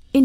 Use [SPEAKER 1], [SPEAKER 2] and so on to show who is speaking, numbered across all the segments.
[SPEAKER 1] verscheen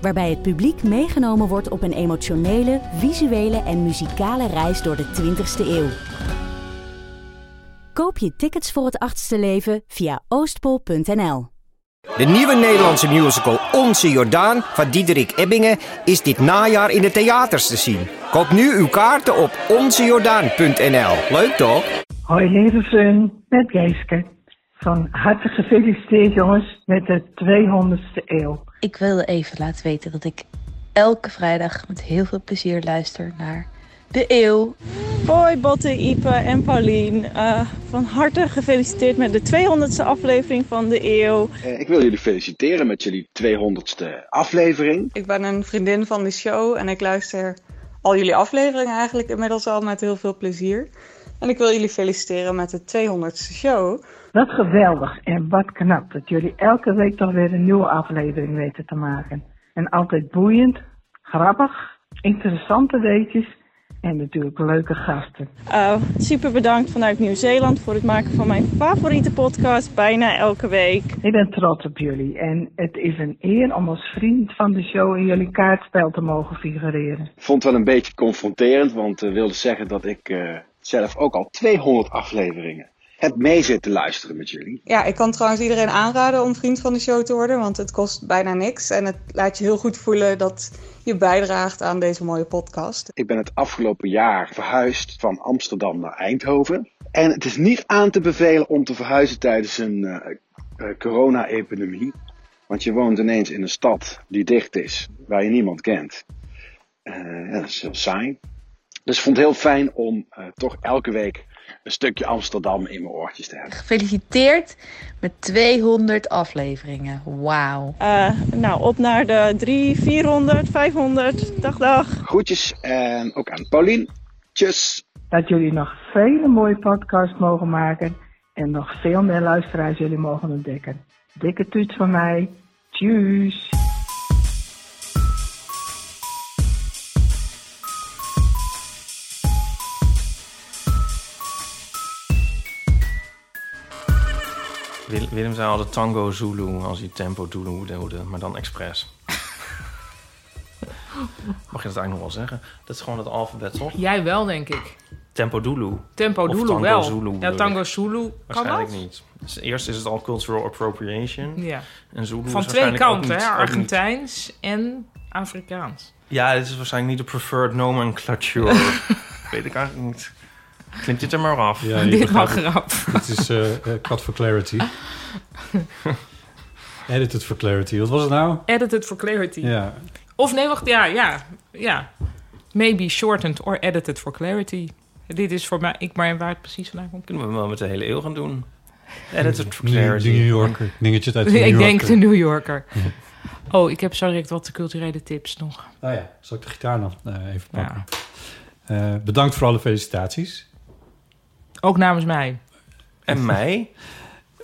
[SPEAKER 1] Waarbij het publiek meegenomen wordt op een emotionele, visuele en muzikale reis door de 20ste eeuw. Koop je tickets voor het achtste leven via oostpol.nl.
[SPEAKER 2] De nieuwe Nederlandse musical Onze Jordaan van Diederik Ebbingen is dit najaar in de theaters te zien. Koop nu uw kaarten op onzejordaan.nl. Leuk toch?
[SPEAKER 3] Hoi lieve fun, met Geeske. Van harte gefeliciteerd jongens met de 200ste eeuw.
[SPEAKER 4] Ik wilde even laten weten dat ik elke vrijdag met heel veel plezier luister naar De Eeuw.
[SPEAKER 5] Hoi Botte, Ipe en Paulien. Eh, van harte gefeliciteerd met de 200ste aflevering van De E Eeuw.
[SPEAKER 6] Eh, Ik wil jullie feliciteren met jullie 200ste aflevering.
[SPEAKER 7] Ik ben een vriendin van de show en ik luister al jullie afleveringen eigenlijk inmiddels al met heel veel plezier. En ik wil jullie feliciteren met de 200ste show.
[SPEAKER 3] Wat geweldig en wat knap dat jullie elke week toch weer een nieuwe aflevering weten te maken. En altijd boeiend, grappig, interessante weetjes en natuurlijk leuke gasten.
[SPEAKER 5] Eh, super bedankt vanuit Nieuw-Zeeland voor het maken van mijn favoriete podcast bijna elke week.
[SPEAKER 3] Ik ben trots op jullie en het is een eer om als vriend van de show in jullie kaartspel te mogen figureren.
[SPEAKER 6] Vond het wel een beetje confronterend, want eh, wilde zeggen dat ik eh, zelf ook al 200 afleveringen heb mee zitten luisteren met jullie.
[SPEAKER 7] Ja, ik kan trouwens iedereen aanraden om vriend van de show te worden, want het kost bijna niks. En het laat je heel goed voelen dat je bijdraagt aan deze mooie podcast.
[SPEAKER 6] Ik ben het afgelopen jaar verhuisd van Amsterdam naar Eindhoven. En het is niet aan te bevelen om te verhuizen tijdens een eh, eh, corona-epidemie. Want je woont ineens in een stad die dicht is, waar je niemand kent. Eh, ja, dat is heel saai. Dus ik vond het heel fijn om eh, toch elke week een stukje Amsterdam in mijn oortjes te hebben.
[SPEAKER 4] Gefeliciteerd met 200 afleveringen. Wauw.
[SPEAKER 5] Eh, nou, op naar de 3, 400, 500. Dag, dag.
[SPEAKER 6] Groetjes en ook aan Paulien. Tjus!
[SPEAKER 3] Dat jullie nog vele mooie podcasts mogen maken en nog veel meer luisteraars jullie mogen ontdekken. Dikke tuut van mij. Tjus!
[SPEAKER 8] Wil- Willem zei altijd tango Zulu als hij tempo Zulu deelde, maar dan expres. Mag je dat eigenlijk nog wel zeggen? Dat is gewoon het alfabet, toch?
[SPEAKER 9] Jij wel, denk ik.
[SPEAKER 8] Tempo Zulu.
[SPEAKER 9] Tempo
[SPEAKER 8] Of
[SPEAKER 9] Doelo
[SPEAKER 8] tango
[SPEAKER 9] wel.
[SPEAKER 8] Zulu bedoel
[SPEAKER 9] ja,
[SPEAKER 8] ik. Dus
[SPEAKER 9] tango Zulu. Kan
[SPEAKER 8] Waarschijnlijk
[SPEAKER 9] dat?
[SPEAKER 8] niet. Dus eerst is het al cultural appropriation.
[SPEAKER 9] Ja.
[SPEAKER 8] En Zulu is
[SPEAKER 9] Van twee
[SPEAKER 8] waarschijnlijk ook
[SPEAKER 9] kanten,
[SPEAKER 8] niet-
[SPEAKER 9] hè?
[SPEAKER 8] ook niet-
[SPEAKER 9] Argentijns en Afrikaans.
[SPEAKER 8] Ja, dit is waarschijnlijk niet de preferred nomenclature. Weet ik eigenlijk niet. Klimt dit er maar af.
[SPEAKER 10] Ja, je
[SPEAKER 9] Dit mag
[SPEAKER 10] begrijpt het.
[SPEAKER 9] grap.
[SPEAKER 10] Het is eh eh, cut for clarity. Edit het for clarity. Wat was het nou?
[SPEAKER 9] Edit it for clarity.
[SPEAKER 10] Ja.
[SPEAKER 9] Of nee, wacht. Ja, ja. Ja. Maybe shortened or edited for clarity. Dit is voor mij... Ik maar waar het precies vandaan komt.
[SPEAKER 8] Kunnen we hem wel met de hele eeuw gaan doen. Edited for
[SPEAKER 10] New, de
[SPEAKER 8] clarity.
[SPEAKER 10] New Yorker. Dingetje uit de New
[SPEAKER 9] Ik
[SPEAKER 10] Yorker.
[SPEAKER 9] denk de New Yorker. Oh, ik heb zo direct wat culturele tips nog.
[SPEAKER 10] Oh ja, zal ik de gitaar nog eh, even
[SPEAKER 9] Ja.
[SPEAKER 10] pakken? Eh, bedankt voor alle felicitaties.
[SPEAKER 9] Ook namens mij.
[SPEAKER 8] En mij?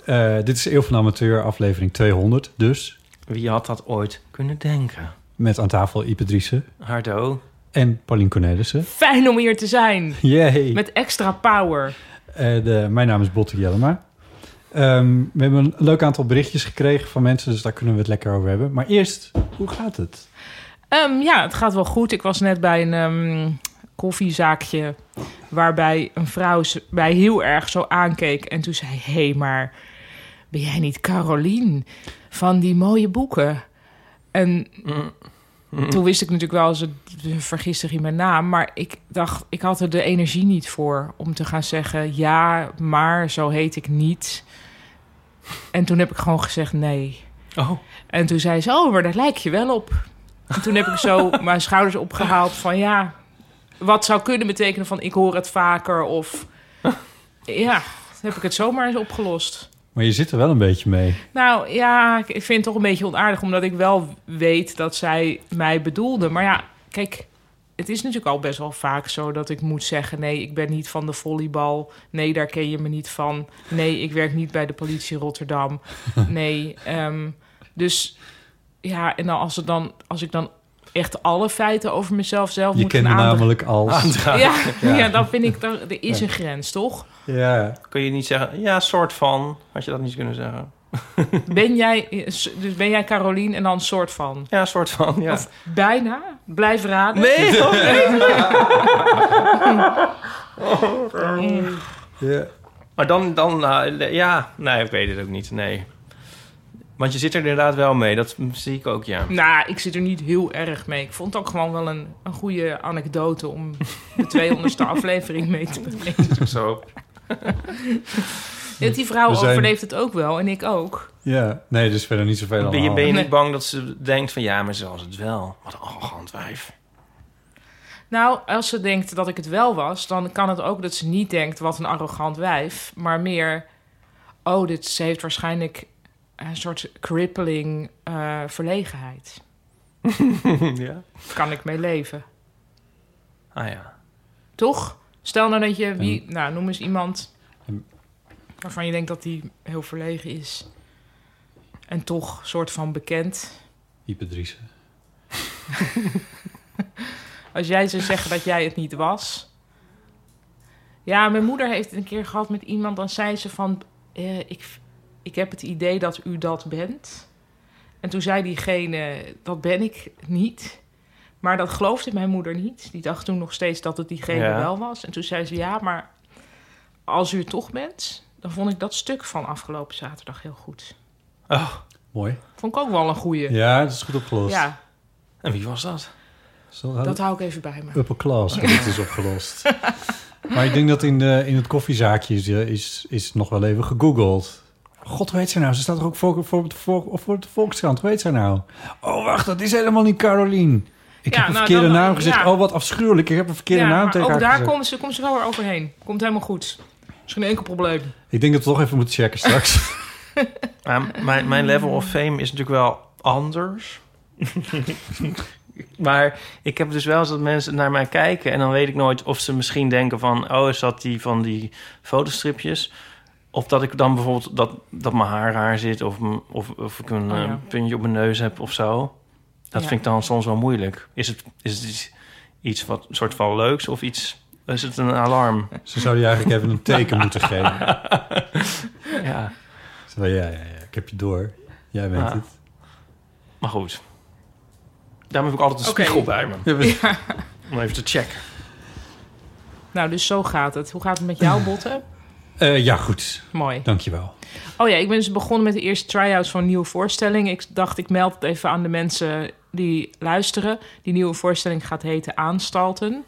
[SPEAKER 10] Eh, dit is Eeuw van de Amateur, aflevering 200 dus.
[SPEAKER 8] Wie had dat ooit kunnen denken?
[SPEAKER 10] Met aan tafel Ipe Driessen
[SPEAKER 8] Hardo.
[SPEAKER 10] en Paulien Cornelissen.
[SPEAKER 9] Fijn om hier te zijn.
[SPEAKER 10] Yay!
[SPEAKER 9] Met extra power.
[SPEAKER 10] Eh, de- mijn naam is Botte Jellema. Ehm, we hebben een leuk aantal berichtjes gekregen van mensen, dus daar kunnen we het lekker over hebben. Maar eerst, hoe gaat het?
[SPEAKER 9] Ehm, ja, het gaat wel goed. Ik was net bij een ehm, koffiezaakje waarbij een vrouw ze- mij heel erg zo aankeek. En toen zei, hé, hey, maar ben jij niet Caroline van die mooie boeken? En toen wist ik natuurlijk wel, ze ze vergist zich in mijn naam. Maar ik dacht, ik had er de energie niet voor om te gaan zeggen... ja, maar zo heet ik niet. En toen heb ik gewoon gezegd nee.
[SPEAKER 8] Oh.
[SPEAKER 9] En toen zei ze, oh, maar daar lijk je wel op. En toen heb ik zo mijn schouders opgehaald van ja, wat zou kunnen betekenen van ik hoor het vaker of ja, dan heb ik het zomaar eens opgelost.
[SPEAKER 10] Maar je zit er wel een beetje mee.
[SPEAKER 9] Nou ja, ik ik vind het toch een beetje onaardig omdat ik wel weet dat zij mij bedoelde. Maar ja, kijk, het is natuurlijk al best wel vaak zo dat ik moet zeggen: nee, ik ben niet van de volleybal. Nee, daar ken je me niet van. Nee, ik werk niet bij de politie Rotterdam. Nee. ehm, dus ja, en dan als, het dan, als ik dan echt alle feiten over mezelf zelf
[SPEAKER 10] Je
[SPEAKER 9] moet Ah.
[SPEAKER 10] kent me
[SPEAKER 9] aandra-
[SPEAKER 10] namelijk als.
[SPEAKER 8] Aandragen,
[SPEAKER 9] Ja, ja.
[SPEAKER 8] ja.
[SPEAKER 9] dan vind ik er, er is
[SPEAKER 8] Ja.
[SPEAKER 9] een grens, toch?
[SPEAKER 10] Ja.
[SPEAKER 8] Kun je niet zeggen, ja, soort van. Had je dat niet kunnen zeggen?
[SPEAKER 9] Ben jij, dus ben jij Carolien en dan soort van?
[SPEAKER 8] Ja, soort van, ja.
[SPEAKER 9] Of bijna? Blijf raden.
[SPEAKER 8] Nee, toch niet?
[SPEAKER 10] Ja.
[SPEAKER 8] Maar dan, dan eh, ja, nee, ik weet het ook niet, nee. Want je zit er inderdaad wel mee, dat zie ik ook, ja.
[SPEAKER 9] Nou, ik zit er niet heel erg mee. Ik vond het ook gewoon wel een, een goede anekdote om de 200ste aflevering mee te beginnen.
[SPEAKER 8] Zo.
[SPEAKER 9] Want Die vrouw
[SPEAKER 10] We zijn-
[SPEAKER 9] overleeft het ook wel en ik ook.
[SPEAKER 10] ja, nee, dus verder niet zoveel aan
[SPEAKER 8] Ben je, ben je
[SPEAKER 10] de
[SPEAKER 8] niet bang dat ze denkt van, ja, maar ze was het wel. Wat een arrogant wijf.
[SPEAKER 9] Nou, als ze denkt dat ik het wel was, dan kan het ook dat ze niet denkt wat een arrogant wijf, maar meer, oh, dit, ze heeft waarschijnlijk een soort crippling eh, verlegenheid.
[SPEAKER 8] ja.
[SPEAKER 9] Kan ik mee leven.
[SPEAKER 8] Ah ja.
[SPEAKER 9] Toch? Stel nou dat je, wie, nou noem eens iemand waarvan je denkt dat die heel verlegen is. En toch soort van bekend.
[SPEAKER 10] Hyperdriesen.
[SPEAKER 9] Als jij zou zeggen dat jij het niet was. Ja, mijn moeder heeft het een keer gehad met iemand. Dan zei ze van, eh, ik, ik heb het idee dat u dat bent. En toen zei diegene, dat ben ik niet. Maar dat geloofde mijn moeder niet. Die dacht toen nog steeds dat het diegene
[SPEAKER 8] Ja.
[SPEAKER 9] wel was. En toen zei ze, ja, maar als u het toch bent... dan vond ik dat stuk van afgelopen zaterdag heel goed.
[SPEAKER 8] Oh,
[SPEAKER 10] Mooi.
[SPEAKER 9] Vond ik ook wel een goeie.
[SPEAKER 10] Ja, dat is goed opgelost.
[SPEAKER 9] Ja,
[SPEAKER 8] en wie was dat?
[SPEAKER 10] Zo,
[SPEAKER 9] dat hou ik even bij me.
[SPEAKER 10] upper class hoe dit is opgelost. maar ik denk dat in, de, in het koffiezaakje is, eh, is, is nog wel even gegoogeld. God, hoe heet zij nou? Ze staat er ook voor, voor, op de voor, of voor de Volkskrant. Hoe heet zij nou? Oh, wacht, dat is helemaal niet Carolien. Ik
[SPEAKER 9] Ja,
[SPEAKER 10] heb een
[SPEAKER 9] nou,
[SPEAKER 10] verkeerde
[SPEAKER 9] dan-
[SPEAKER 10] naam gezegd.
[SPEAKER 9] ja.
[SPEAKER 10] Oh, wat afschuwelijk. Ik heb een verkeerde
[SPEAKER 9] ja,
[SPEAKER 10] naam
[SPEAKER 9] maar
[SPEAKER 10] tegen
[SPEAKER 9] ook
[SPEAKER 10] haar
[SPEAKER 9] daar
[SPEAKER 10] gezegd.
[SPEAKER 9] komen ze, komt ze wel weer overheen. Komt helemaal goed. Is geen enkel probleem.
[SPEAKER 10] Ik denk dat we toch even moeten checken straks.
[SPEAKER 8] Maar mijn, mijn level of fame is natuurlijk wel anders. maar ik heb dus wel eens dat mensen naar mij kijken... en dan weet ik nooit of ze misschien denken van... oh, is dat die van die fotostripjes? Of dat ik dan bijvoorbeeld dat, dat mijn haar raar zit... of, m- of, of ik een
[SPEAKER 9] Oh, ja.
[SPEAKER 8] eh, puntje op mijn neus heb of zo. Dat
[SPEAKER 9] Ja.
[SPEAKER 8] vind ik dan soms wel moeilijk. Is het, is het iets, iets wat soort van leuks of iets... Is het een alarm?
[SPEAKER 10] Ze zouden je eigenlijk even een teken moeten geven.
[SPEAKER 8] Ja,
[SPEAKER 10] Zo, ja, ja, ja, ik heb je door. Jij weet
[SPEAKER 8] Ah.
[SPEAKER 10] het.
[SPEAKER 8] maar goed. Daarom heb ik altijd een
[SPEAKER 9] Oké.
[SPEAKER 8] spiegel bij me.
[SPEAKER 10] Ja, we-
[SPEAKER 8] Om even te checken.
[SPEAKER 9] Nou, dus zo gaat het. Hoe gaat het met jou, Botten?
[SPEAKER 10] Eh, ja, goed.
[SPEAKER 9] Mooi.
[SPEAKER 10] Dankjewel.
[SPEAKER 9] Oh ja, ik ben dus begonnen met de eerste try-outs van een nieuwe voorstelling. Ik dacht, ik meld het even aan de mensen die luisteren. Die nieuwe voorstelling gaat heten Aanstalten.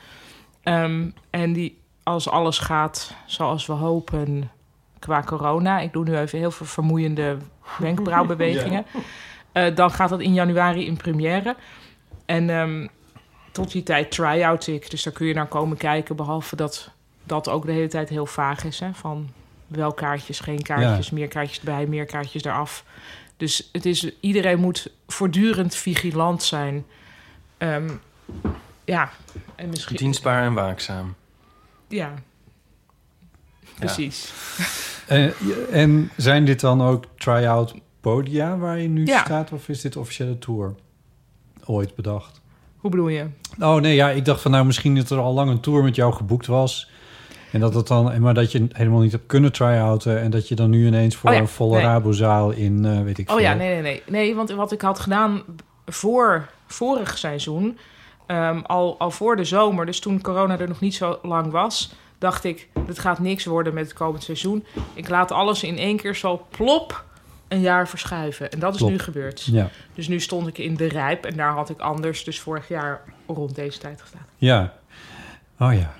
[SPEAKER 9] Ehm, en die, als alles gaat zoals we hopen qua corona... ik doe nu even heel veel vermoeiende wenkbrauwbewegingen... eh, dan gaat dat in januari in première. En ehm, tot die tijd try-out ik. Dus daar kun je naar komen kijken, behalve dat dat ook de hele tijd heel vaag is. Hè? Van wel kaartjes, geen kaartjes, meer kaartjes erbij, meer kaartjes eraf. Dus het is, iedereen moet voortdurend vigilant zijn. Ehm, ja, en misschien...
[SPEAKER 8] Dienstbaar en waakzaam.
[SPEAKER 9] Ja. Precies.
[SPEAKER 10] Eh, je- en zijn dit dan ook try-out podia waar je nu
[SPEAKER 9] Ja.
[SPEAKER 10] staat? Of is dit officiële tour ooit bedacht?
[SPEAKER 9] Hoe bedoel je?
[SPEAKER 10] Oh nee, ja, ik dacht van nou misschien dat er al lang een tour met jou geboekt was. En dat het dan, en maar dat je helemaal niet hebt kunnen try-outen. En dat je dan nu ineens voor
[SPEAKER 9] Oh ja,
[SPEAKER 10] een volle
[SPEAKER 9] nee.
[SPEAKER 10] Rabozaal in, eh, weet ik
[SPEAKER 9] Oh
[SPEAKER 10] veel.
[SPEAKER 9] ja, nee, nee, nee. Nee, want wat ik had gedaan voor vorig seizoen, ehm, al, al voor de zomer, dus toen corona er nog niet zo lang was, dacht ik, dit gaat niks worden met het komend seizoen. Ik laat alles in één keer zo plop een jaar verschuiven. En dat is
[SPEAKER 10] Plop.
[SPEAKER 9] nu gebeurd.
[SPEAKER 10] Ja,
[SPEAKER 9] Dus nu stond ik in de rijp en daar had ik anders dus vorig jaar rond deze tijd gestaan.
[SPEAKER 10] ja. Oh ja.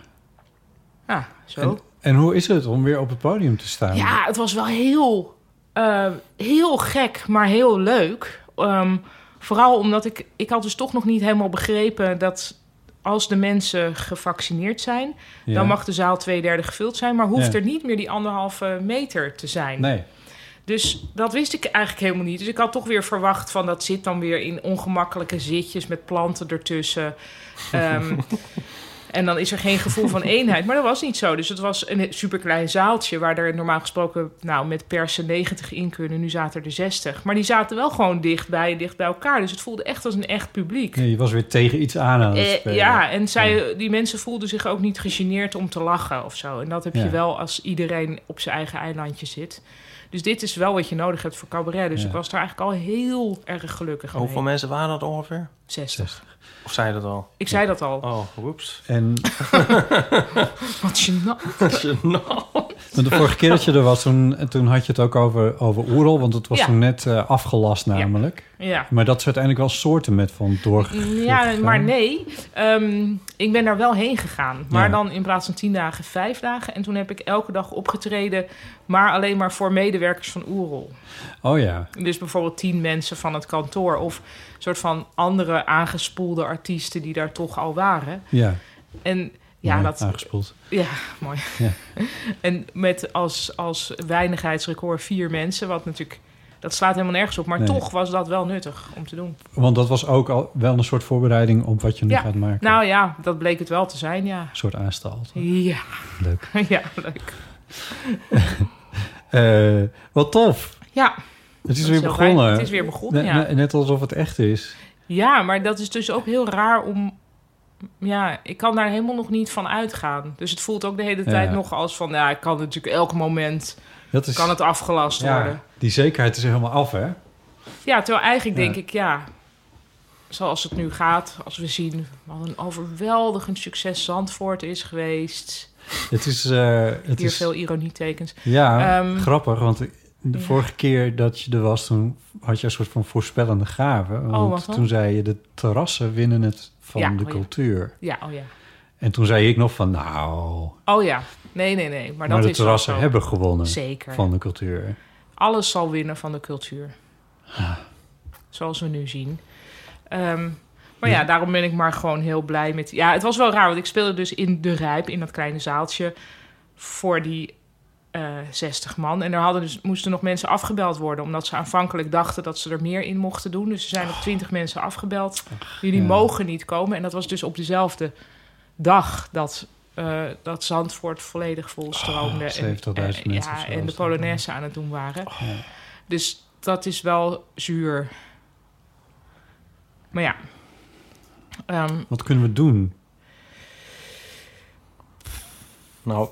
[SPEAKER 9] Ja, zo.
[SPEAKER 10] En, en hoe is het om weer op het podium te staan?
[SPEAKER 9] Ja, het was wel heel, eh, heel gek, maar heel leuk. Ehm, vooral omdat ik, ik had dus toch nog niet helemaal begrepen dat als de mensen gevaccineerd zijn,
[SPEAKER 10] Ja.
[SPEAKER 9] dan mag de zaal twee derde gevuld zijn, maar hoeft
[SPEAKER 10] Ja.
[SPEAKER 9] er niet meer die anderhalve meter te zijn.
[SPEAKER 10] Nee.
[SPEAKER 9] Dus dat wist ik eigenlijk helemaal niet. Dus ik had toch weer verwacht van dat zit dan weer in ongemakkelijke zitjes met planten ertussen. Ehm, en dan is er geen gevoel van eenheid. Maar dat was niet zo. Dus het was een superklein zaaltje waar er normaal gesproken nou, met persen 90 in kunnen. Nu zaten er 60. Maar die zaten wel gewoon dichtbij en dicht bij elkaar. Dus het voelde echt als een echt publiek.
[SPEAKER 10] Nee, je was weer tegen iets aan aan het
[SPEAKER 9] Eh,
[SPEAKER 10] spelen.
[SPEAKER 9] ja, en zij, die mensen voelden zich ook niet gegeneerd om te lachen of zo. En dat heb
[SPEAKER 10] Ja.
[SPEAKER 9] je wel als iedereen op zijn eigen eilandje zit. Dus dit is wel wat je nodig hebt voor cabaret. Dus
[SPEAKER 8] Ja.
[SPEAKER 9] ik was daar eigenlijk al heel erg gelukkig mee.
[SPEAKER 8] Hoeveel mensen waren dat ongeveer?
[SPEAKER 9] 60.
[SPEAKER 8] Of zei je dat al?
[SPEAKER 9] Ik zei dat al.
[SPEAKER 8] Oh, whoops.
[SPEAKER 10] En
[SPEAKER 9] Wat gênant.
[SPEAKER 10] Maar de vorige keer dat je er was, toen, toen had je het ook over, over oerol. Want het was
[SPEAKER 9] Ja.
[SPEAKER 10] toen net eh, afgelast namelijk.
[SPEAKER 9] Ja.
[SPEAKER 10] Maar dat is uiteindelijk wel soorten met van door.
[SPEAKER 9] Ja, maar nee. Ehm, ik ben daar wel heen gegaan. Maar
[SPEAKER 10] Ja.
[SPEAKER 9] dan in plaats van tien dagen, vijf dagen. En toen heb ik elke dag opgetreden. Maar alleen maar voor medewerkers van Oerol.
[SPEAKER 10] Oh ja.
[SPEAKER 9] Dus bijvoorbeeld tien mensen van het kantoor. Of een soort van andere aangespoelde artiesten die daar toch al waren.
[SPEAKER 10] Ja.
[SPEAKER 9] En ja,
[SPEAKER 10] Mooi,
[SPEAKER 9] dat...
[SPEAKER 10] aangespoeld.
[SPEAKER 9] Ja, mooi.
[SPEAKER 10] Ja.
[SPEAKER 9] en met als, als weinigheidsrecord vier mensen. Wat natuurlijk... Dat slaat helemaal nergens op. Maar
[SPEAKER 10] Nee.
[SPEAKER 9] toch was dat wel nuttig om te doen.
[SPEAKER 10] Want dat was ook al wel een soort voorbereiding op wat je nu
[SPEAKER 9] ja.
[SPEAKER 10] gaat maken.
[SPEAKER 9] Nou ja, dat bleek het wel te zijn, ja.
[SPEAKER 10] Een soort aanstalt.
[SPEAKER 9] Ja.
[SPEAKER 10] Leuk.
[SPEAKER 9] ja, leuk.
[SPEAKER 10] Eh, wat tof.
[SPEAKER 9] Ja.
[SPEAKER 10] Het is
[SPEAKER 9] Dat
[SPEAKER 10] weer
[SPEAKER 9] heel
[SPEAKER 10] begonnen.
[SPEAKER 9] fijn. Het is weer begonnen,
[SPEAKER 10] Ne-
[SPEAKER 9] ja.
[SPEAKER 10] ne- net alsof het echt is.
[SPEAKER 9] Ja, maar dat is dus ook heel raar om... Ja, ik kan daar helemaal nog niet van uitgaan. Dus het voelt ook de hele
[SPEAKER 10] Ja.
[SPEAKER 9] tijd nog als van... Ja, ik kan natuurlijk elk moment...
[SPEAKER 10] Dat is-
[SPEAKER 9] Kan het afgelast worden.
[SPEAKER 10] Dus Ja, die zekerheid is helemaal af, hè?
[SPEAKER 9] Ja, terwijl eigenlijk
[SPEAKER 10] Ja.
[SPEAKER 9] denk ik, ja... Zoals het nu gaat, als we zien... wat een overweldigend succes Zandvoort is geweest.
[SPEAKER 10] Het is... eh, het
[SPEAKER 9] Hier
[SPEAKER 10] is
[SPEAKER 9] veel ironietekens.
[SPEAKER 10] Ja,
[SPEAKER 9] Ehm,
[SPEAKER 10] grappig, want de
[SPEAKER 9] ja.
[SPEAKER 10] vorige keer dat je er was, toen had je een soort van voorspellende gave.
[SPEAKER 9] Oh, wat
[SPEAKER 10] Want
[SPEAKER 9] dan?
[SPEAKER 10] toen zei je, de terrassen winnen het van
[SPEAKER 9] Ja,
[SPEAKER 10] de
[SPEAKER 9] oh ja.
[SPEAKER 10] cultuur.
[SPEAKER 9] Ja, oh ja.
[SPEAKER 10] En toen zei ik nog van, nou, maar,
[SPEAKER 9] Oh ja, nee, nee, nee. Maar, dat
[SPEAKER 10] de
[SPEAKER 9] is wel
[SPEAKER 10] terrassen
[SPEAKER 9] zo.
[SPEAKER 10] hebben gewonnen
[SPEAKER 9] Zeker.
[SPEAKER 10] van de cultuur. Ah.
[SPEAKER 9] Alles zal winnen van de cultuur. Zoals we nu zien. Ehm, maar ja, daarom ben ik maar gewoon heel blij met... Ja, het was wel raar, want ik speelde dus in De Rijp... in dat kleine zaaltje voor die eh 60 man. En er hadden dus, moesten nog mensen afgebeld worden... omdat ze aanvankelijk dachten dat ze er meer in mochten doen. Dus er zijn
[SPEAKER 10] Oh.
[SPEAKER 9] nog 20 mensen afgebeld. Jullie
[SPEAKER 11] ja.
[SPEAKER 9] mogen niet komen. En dat was dus op dezelfde dag dat... eh, dat Zandvoort volledig volstroomde.
[SPEAKER 10] Oh,
[SPEAKER 9] En-
[SPEAKER 10] 70.000
[SPEAKER 9] en-
[SPEAKER 10] mensen of
[SPEAKER 9] Ja,
[SPEAKER 10] zo
[SPEAKER 9] en de
[SPEAKER 10] is dat, ja. Oh.
[SPEAKER 9] Polonaise aan het doen waren. Dus dat is wel zuur. Maar ja. Ehm,
[SPEAKER 10] Wat kunnen we doen?
[SPEAKER 8] Nou,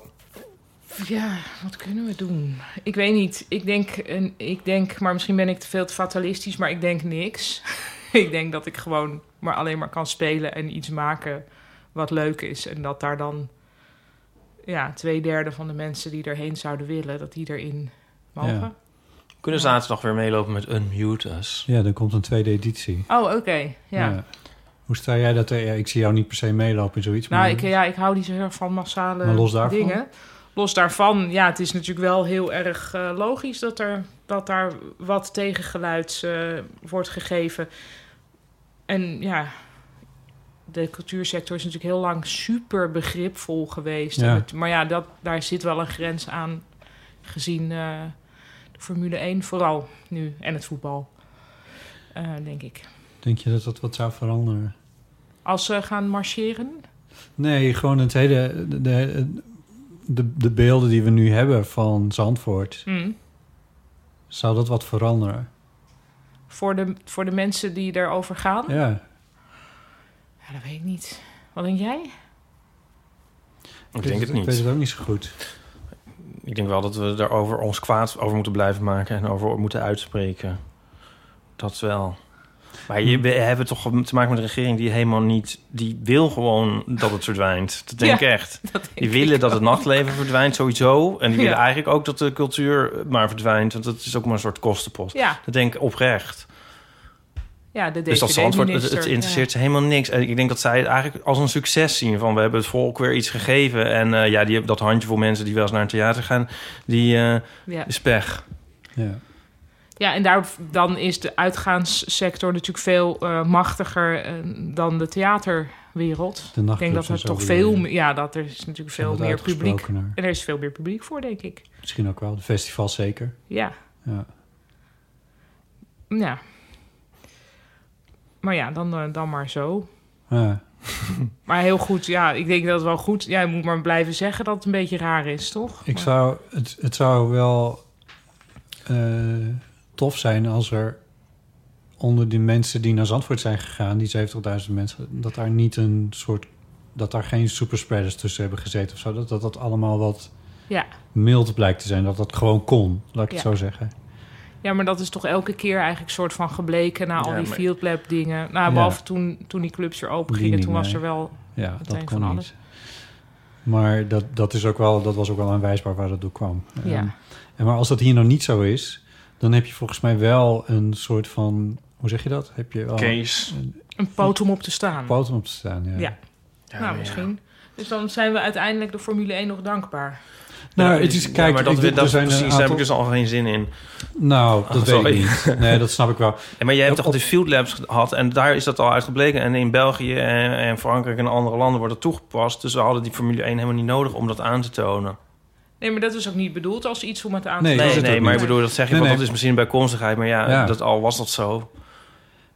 [SPEAKER 9] ja, wat kunnen we doen? Ik weet niet. Ik denk, een- ik denk, maar misschien ben ik te veel te fatalistisch, maar ik denk niks. ik denk dat ik gewoon maar alleen maar kan spelen en iets maken wat leuk is. En dat daar dan ja, twee derde van de mensen die erheen zouden willen, dat die erin mogen.
[SPEAKER 8] kunnen zaterdag weer meelopen met Unmute Us?
[SPEAKER 10] Ja, er komt een tweede editie.
[SPEAKER 9] Oh, oké. ja.
[SPEAKER 10] Hoe sta jij dat? eh, Ja, ik zie jou niet per se meelopen in zoiets.
[SPEAKER 9] Nou,
[SPEAKER 10] maar
[SPEAKER 9] ik, ja, ik hou niet zo heel erg van massale
[SPEAKER 10] Maar los daarvan?
[SPEAKER 9] dingen. Los daarvan, ja, het is natuurlijk wel heel erg eh, logisch dat, er, dat daar wat tegengeluid eh, wordt gegeven. En ja, de cultuursector is natuurlijk heel lang super begripvol geweest.
[SPEAKER 10] Ja.
[SPEAKER 9] En het- maar ja, dat, daar zit wel een grens aan gezien eh, de Formule 1 vooral nu en het voetbal, eh, denk ik.
[SPEAKER 10] Denk je dat dat wat zou veranderen?
[SPEAKER 9] Als ze gaan marcheren,
[SPEAKER 10] Nee, gewoon het hele... De, de, de, de beelden die we nu hebben van Zandvoort...
[SPEAKER 9] Mm.
[SPEAKER 10] Zou dat wat veranderen?
[SPEAKER 9] voor de, voor de mensen die erover gaan?
[SPEAKER 10] Ja.
[SPEAKER 9] Ja, dat weet ik niet. Wat denk jij?
[SPEAKER 8] Ik denk het
[SPEAKER 10] Ik weet
[SPEAKER 8] niet.
[SPEAKER 10] het ook niet zo goed.
[SPEAKER 8] Ik denk wel dat we daarover ons kwaad over moeten blijven maken en over moeten uitspreken. Dat wel. Maar
[SPEAKER 10] Hm.
[SPEAKER 8] je, we hebben toch te maken met een regering die helemaal niet... die wil gewoon dat het verdwijnt. Dat denk ik
[SPEAKER 9] Ja,
[SPEAKER 8] echt.
[SPEAKER 9] dat denk
[SPEAKER 8] die willen
[SPEAKER 9] ik
[SPEAKER 8] dat het
[SPEAKER 9] ook.
[SPEAKER 8] nachtleven verdwijnt sowieso. En die
[SPEAKER 9] Ja.
[SPEAKER 8] willen eigenlijk ook dat de cultuur maar verdwijnt. Want dat is ook maar een soort kostenpost.
[SPEAKER 9] Ja.
[SPEAKER 8] Dat denk ik oprecht.
[SPEAKER 9] Ja, de
[SPEAKER 8] Dus dat Zandvoort, het, het
[SPEAKER 9] DVD-minister.
[SPEAKER 8] interesseert ze helemaal niks. En ik denk dat zij het eigenlijk als een succes zien. Van we hebben het volk weer iets gegeven. En eh, ja, die hebben dat handje voor mensen die wel eens naar een theater gaan. Die eh,
[SPEAKER 9] Ja.
[SPEAKER 8] is pech.
[SPEAKER 9] Ja, en daar, dan is de uitgaanssector natuurlijk veel eh, machtiger eh, dan de theaterwereld.
[SPEAKER 10] De
[SPEAKER 9] ik denk
[SPEAKER 10] nachtclubs
[SPEAKER 9] dat er
[SPEAKER 10] en zo
[SPEAKER 9] toch
[SPEAKER 10] bedoel je?
[SPEAKER 9] veel meer... Ja, dat er is natuurlijk
[SPEAKER 10] Zijn
[SPEAKER 9] veel
[SPEAKER 10] wat
[SPEAKER 9] meer publiek...
[SPEAKER 10] uitgesprokener.
[SPEAKER 9] En er is veel meer publiek voor, denk ik.
[SPEAKER 10] Misschien ook wel. De festival zeker.
[SPEAKER 9] Ja.
[SPEAKER 10] Ja.
[SPEAKER 9] Ja. Maar ja, dan, eh, dan maar zo.
[SPEAKER 10] Ja.
[SPEAKER 9] Maar heel goed, ja, ik denk dat het wel goed... Jij moet maar blijven zeggen dat het een beetje raar is, toch?
[SPEAKER 10] Ik zou, het, het zou wel eh, tof zijn als er onder die mensen die naar Zandvoort zijn gegaan, die 70.000 mensen, dat daar niet een soort, dat daar geen superspreaders tussen hebben gezeten of zo. Dat dat, dat allemaal wat
[SPEAKER 9] Ja.
[SPEAKER 10] mild blijkt te zijn. Dat dat gewoon kon, laat ik het
[SPEAKER 9] Ja.
[SPEAKER 10] zo zeggen.
[SPEAKER 9] Ja, maar dat is toch elke keer eigenlijk soort van gebleken... na al
[SPEAKER 10] Ja,
[SPEAKER 9] die
[SPEAKER 10] maar-
[SPEAKER 9] field lab dingen. Nou,
[SPEAKER 10] Ja.
[SPEAKER 9] behalve toen, toen die clubs weer open
[SPEAKER 10] Die
[SPEAKER 9] gingen,
[SPEAKER 10] niet,
[SPEAKER 9] toen was
[SPEAKER 10] nee.
[SPEAKER 9] er wel
[SPEAKER 10] Ja, dat
[SPEAKER 9] meteen
[SPEAKER 10] kon
[SPEAKER 9] van
[SPEAKER 10] niet.
[SPEAKER 9] alles.
[SPEAKER 10] Maar dat, dat, is ook wel, dat was ook wel aanwijsbaar waar dat door kwam.
[SPEAKER 9] Ja.
[SPEAKER 10] Ehm, en maar als dat hier nou niet zo is, dan heb je volgens mij wel een soort van, hoe zeg je dat? Heb je wel
[SPEAKER 8] Case.
[SPEAKER 10] Een,
[SPEAKER 9] Een poot om op te staan.
[SPEAKER 10] poot om op te staan, ja.
[SPEAKER 9] Ja. nou, misschien. Dus dan zijn we uiteindelijk de Formule 1 nog dankbaar.
[SPEAKER 10] Nou, het is,
[SPEAKER 8] Ja,
[SPEAKER 10] kijk,
[SPEAKER 8] maar dat,
[SPEAKER 10] ik-
[SPEAKER 8] we- dat
[SPEAKER 10] er zijn een
[SPEAKER 8] precies, daar heb
[SPEAKER 10] aantal-
[SPEAKER 8] ik dus al geen zin in.
[SPEAKER 10] Nou, dat
[SPEAKER 8] Ah,
[SPEAKER 10] weet ik
[SPEAKER 8] sorry.
[SPEAKER 10] niet. Nee, dat snap ik wel.
[SPEAKER 8] Ja, maar jij hebt toch de field labs gehad en daar is dat al uitgebleken. En in België en, en Frankrijk en andere landen wordt het toegepast. Dus we hadden die Formule 1 helemaal niet nodig om dat aan te tonen.
[SPEAKER 9] Nee, maar dat is ook niet bedoeld als iets om het aan
[SPEAKER 8] Nee,
[SPEAKER 9] te
[SPEAKER 8] nee,
[SPEAKER 9] tonen.
[SPEAKER 8] maar ik bedoel, dat zeg je,
[SPEAKER 10] Nee,
[SPEAKER 8] want
[SPEAKER 10] nee.
[SPEAKER 8] dat is misschien bijkomstigheid. Maar ja,
[SPEAKER 10] Ja.
[SPEAKER 8] Dat, al was dat zo.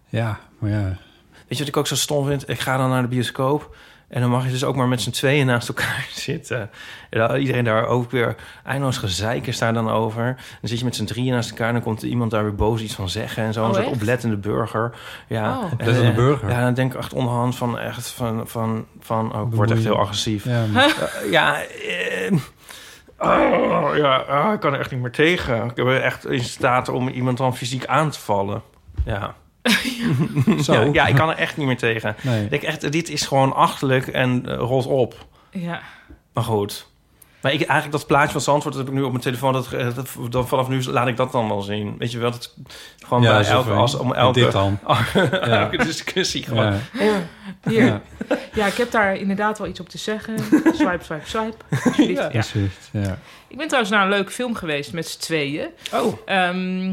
[SPEAKER 10] Ja, maar ja.
[SPEAKER 8] Weet je wat ik ook zo stom vind? Ik ga dan naar de bioscoop. En dan mag je dus ook maar met z'n tweeën naast elkaar zitten. En dan iedereen daar ook weer eindeloos gezeik is daar dan over. Dan zit je met z'n drieën naast elkaar en dan komt iemand daar weer boos iets van zeggen. En zo,
[SPEAKER 10] Oh,
[SPEAKER 8] een soort
[SPEAKER 10] echt?
[SPEAKER 8] oplettende burger. Ja,
[SPEAKER 10] Oh.
[SPEAKER 8] en,
[SPEAKER 10] Oplettende
[SPEAKER 8] eh,
[SPEAKER 10] burger.
[SPEAKER 8] Ja, dan denk ik echt onderhand van echt van... van, van oh, ik word echt heel agressief.
[SPEAKER 10] Ja,
[SPEAKER 8] Eh, ja, eh, oh, ja ah, ik kan er echt niet meer tegen. Ik ben echt in staat om iemand dan fysiek aan te vallen. Ja.
[SPEAKER 10] Zo.
[SPEAKER 8] Ja, ja, ik kan er echt niet meer tegen.
[SPEAKER 10] Nee.
[SPEAKER 8] Ik denk echt, dit is gewoon achterlijk en eh, rolt op.
[SPEAKER 9] Ja.
[SPEAKER 8] Maar goed. Maar ik, eigenlijk dat plaatje van Zandvoort dat heb ik nu op mijn telefoon. Dat, eh, dat, dan vanaf nu laat ik dat dan wel zien. Weet je wel, dat gewoon
[SPEAKER 10] Ja,
[SPEAKER 8] bij
[SPEAKER 10] zo
[SPEAKER 8] elke,
[SPEAKER 10] van,
[SPEAKER 8] als, om elke,
[SPEAKER 10] dit dan.
[SPEAKER 8] elke discussie gewoon.
[SPEAKER 10] Ja.
[SPEAKER 9] Ja, hier.
[SPEAKER 10] Ja.
[SPEAKER 9] Ja. ik heb daar inderdaad wel iets op te zeggen. Swipe, swipe, swipe. Alsjeblieft. Ja.
[SPEAKER 10] Precies, ja.
[SPEAKER 9] Ik ben trouwens naar een leuke film geweest met z'n tweeën.
[SPEAKER 8] Oh.
[SPEAKER 9] Ehm,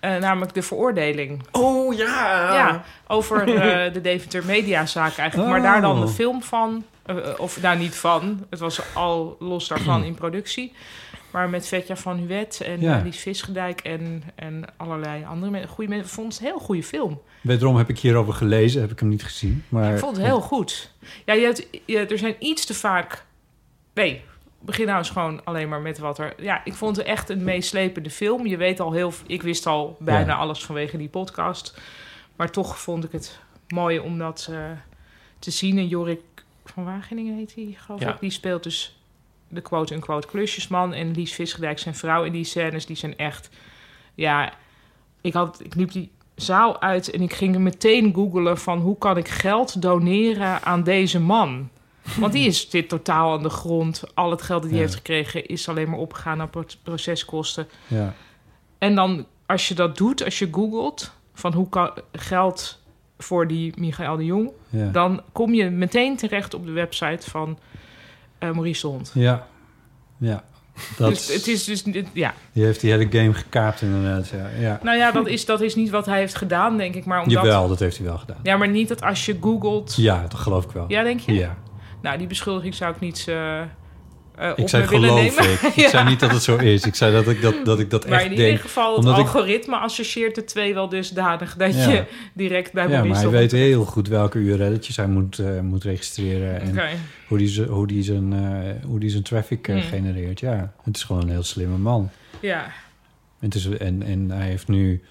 [SPEAKER 9] eh, namelijk De Veroordeling.
[SPEAKER 8] Oh ja.
[SPEAKER 9] Ja, over eh, de Deventer Mediazaak eigenlijk. Maar
[SPEAKER 8] Oh.
[SPEAKER 9] daar dan de film van. eh, eh, of daar niet van. Het was al los daarvan in productie. Maar met Vetja van Huwet en
[SPEAKER 10] Ja.
[SPEAKER 9] ja. Lies Visgedijk en, en allerlei andere men- goede mensen. Ik vond het een heel goede film.
[SPEAKER 10] Wederom heb ik hierover gelezen, heb ik hem niet gezien. Maar,
[SPEAKER 9] Ik vond het heel goed. Ja, je hebt, je- er zijn iets te vaak. Nee, begin nou eens gewoon alleen maar met wat er. Ja, ik vond het echt een meeslepende film. Je weet al heel. Ik wist al bijna
[SPEAKER 10] Ja.
[SPEAKER 9] alles vanwege die podcast. Maar toch vond ik het mooi om dat eh, te zien. En Jorik van Wageningen heet die, geloof
[SPEAKER 8] Ja.
[SPEAKER 9] ik. Die speelt dus de quote-unquote klusjesman. En Lies Visgedijk zijn vrouw. En die scènes die zijn echt... Ja, ik, had, ik liep die zaal uit en ik ging meteen googelen van... hoe kan ik geld doneren aan deze man? Want die is, zit totaal aan de grond. Al het geld dat hij
[SPEAKER 10] Ja.
[SPEAKER 9] heeft gekregen is alleen maar opgegaan aan pro- proceskosten.
[SPEAKER 10] Ja.
[SPEAKER 9] En dan als je dat doet, als je googelt van hoe kan geld voor die Michael de Jong,
[SPEAKER 10] Ja.
[SPEAKER 9] dan kom je meteen terecht op de website van eh, Maurice de Hond.
[SPEAKER 10] Ja, ja. Dat,
[SPEAKER 9] Dus het is dus dit- ja.
[SPEAKER 10] Die heeft die hele game gekaapt inderdaad, ja. ja.
[SPEAKER 9] Nou ja, dat is, dat is niet wat hij heeft gedaan, denk ik, maar omdat.
[SPEAKER 10] Jawel, dat heeft hij wel gedaan.
[SPEAKER 9] Ja, maar niet dat als je googelt.
[SPEAKER 10] Ja, dat geloof ik wel.
[SPEAKER 9] Ja, denk je?
[SPEAKER 10] Ja.
[SPEAKER 9] Nou, die beschuldiging zou ik niet. eh eh,
[SPEAKER 10] Ik
[SPEAKER 9] op
[SPEAKER 10] zei
[SPEAKER 9] me willen
[SPEAKER 10] geloof
[SPEAKER 9] nemen.
[SPEAKER 10] ik. Ik
[SPEAKER 9] Ja.
[SPEAKER 10] zei niet dat het zo is. Ik zei dat ik dat, dat, ik dat
[SPEAKER 9] Maar
[SPEAKER 10] echt
[SPEAKER 9] in
[SPEAKER 10] denk.
[SPEAKER 9] ieder geval, het
[SPEAKER 10] Omdat ik-
[SPEAKER 9] algoritme associeert de twee wel dusdanig dat
[SPEAKER 10] Ja.
[SPEAKER 9] je direct bij
[SPEAKER 10] ja,
[SPEAKER 9] Maurice
[SPEAKER 10] maar
[SPEAKER 9] de
[SPEAKER 10] hij
[SPEAKER 9] Hond
[SPEAKER 10] weet heel goed welke URL'tjes hij moet, eh, moet registreren. En
[SPEAKER 9] Oké.
[SPEAKER 10] hoe, die ze- hoe, die zijn, eh, hoe die zijn traffic eh,
[SPEAKER 9] Hmm.
[SPEAKER 10] genereert. Ja, het is gewoon een heel slimme man.
[SPEAKER 9] Ja.
[SPEAKER 10] Het is, en, en hij heeft nu...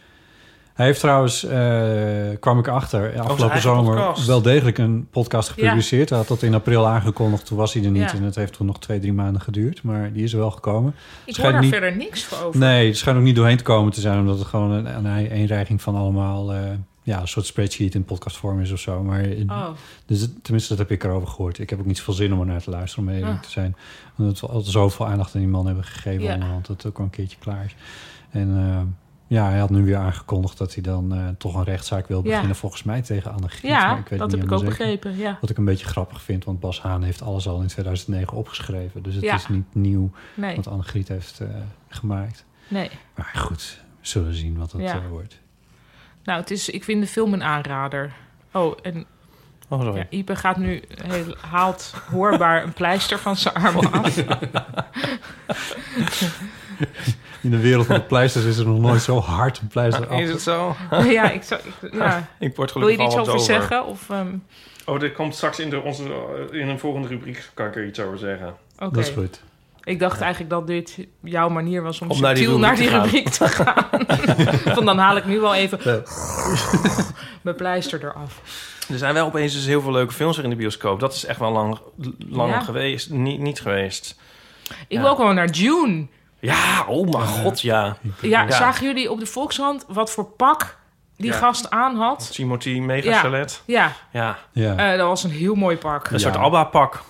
[SPEAKER 10] Hij heeft trouwens, eh, kwam ik achter, afgelopen
[SPEAKER 8] eigen
[SPEAKER 10] zomer
[SPEAKER 8] podcast.
[SPEAKER 10] wel degelijk een podcast gepubliceerd. Hij had dat in april aangekondigd, toen was hij er niet.
[SPEAKER 9] Ja.
[SPEAKER 10] En het heeft toen nog twee, drie maanden geduurd. Maar die is er wel gekomen.
[SPEAKER 9] Ik hoor
[SPEAKER 10] Schijnt
[SPEAKER 9] daar
[SPEAKER 10] niet-
[SPEAKER 9] verder niks voor over.
[SPEAKER 10] Nee, het schijnt ook niet doorheen te komen te zijn, omdat het gewoon een, een eenreiging van allemaal eh, ja, een soort spreadsheet in podcastvorm is of zo. Maar in-
[SPEAKER 9] Oh.
[SPEAKER 10] dus het- tenminste, dat heb ik erover gehoord. Ik heb ook niet zoveel zin om er naar te luisteren, om eerlijk
[SPEAKER 9] Ah.
[SPEAKER 10] te zijn. Omdat we al zoveel aandacht aan die man hebben gegeven eh,
[SPEAKER 9] Ja.
[SPEAKER 10] onderhand, dat het ook al een keertje klaar is. En eh, ja, hij had nu weer aangekondigd dat hij dan eh, toch een rechtszaak wil
[SPEAKER 9] Ja.
[SPEAKER 10] beginnen, volgens mij tegen Anne Griet.
[SPEAKER 9] Ja,
[SPEAKER 10] maar ik weet
[SPEAKER 9] dat
[SPEAKER 10] het niet
[SPEAKER 9] heb ik ook
[SPEAKER 10] helemaal zeker.
[SPEAKER 9] begrepen, ja.
[SPEAKER 10] Wat ik een beetje grappig vind, want Bas Haan heeft alles al in 2009 opgeschreven. Dus het
[SPEAKER 9] Ja.
[SPEAKER 10] is niet nieuw
[SPEAKER 9] Nee.
[SPEAKER 10] wat Anne Griet heeft eh, gemaakt.
[SPEAKER 9] Nee.
[SPEAKER 10] Maar goed, we zullen zien wat het
[SPEAKER 9] Ja.
[SPEAKER 10] eh, wordt.
[SPEAKER 9] Nou, het is, ik vind de film een aanrader. Oh, en
[SPEAKER 8] Oh, sorry.
[SPEAKER 9] ja, Ipe gaat nu heel, haalt hoorbaar een pleister van zijn arm af.
[SPEAKER 10] In de wereld van de pleisters is er nog nooit zo hard een pleister af.
[SPEAKER 8] Is het zo?
[SPEAKER 9] Oh ja, ik zou... ik- ja.
[SPEAKER 8] Ik word
[SPEAKER 9] Wil je
[SPEAKER 8] gelukkig
[SPEAKER 9] er iets
[SPEAKER 8] al
[SPEAKER 9] over
[SPEAKER 8] wat over.
[SPEAKER 9] zeggen? Of, ehm,
[SPEAKER 8] Oh, dit komt straks in, de, onze, eh, in een volgende rubriek, kan ik er iets over zeggen.
[SPEAKER 9] oké. Ik dacht eigenlijk dat dit jouw manier was om,
[SPEAKER 8] Om naar die
[SPEAKER 9] subtiel naar die rubriek
[SPEAKER 8] rubriek
[SPEAKER 9] te
[SPEAKER 8] te
[SPEAKER 9] gaan. Van dan haal ik nu wel even
[SPEAKER 10] Ja.
[SPEAKER 9] mijn pleister eraf.
[SPEAKER 8] Er zijn wel opeens dus heel veel leuke films er in de bioscoop. Dat is echt wel lang, lang
[SPEAKER 9] Ja.
[SPEAKER 8] geweest, niet, niet geweest.
[SPEAKER 9] Ik
[SPEAKER 8] Ja.
[SPEAKER 9] wil ook wel naar June.
[SPEAKER 8] Ja, oh mijn god, ja.
[SPEAKER 9] Ja, zagen jullie op de Volksrand wat voor pak die
[SPEAKER 8] Ja.
[SPEAKER 9] gast aan had?
[SPEAKER 8] Timothy
[SPEAKER 9] Ja.
[SPEAKER 8] Megachalet.
[SPEAKER 9] Ja,
[SPEAKER 8] Ja.
[SPEAKER 9] Eh, dat was een heel mooi pak.
[SPEAKER 8] Een soort ABBA-pak.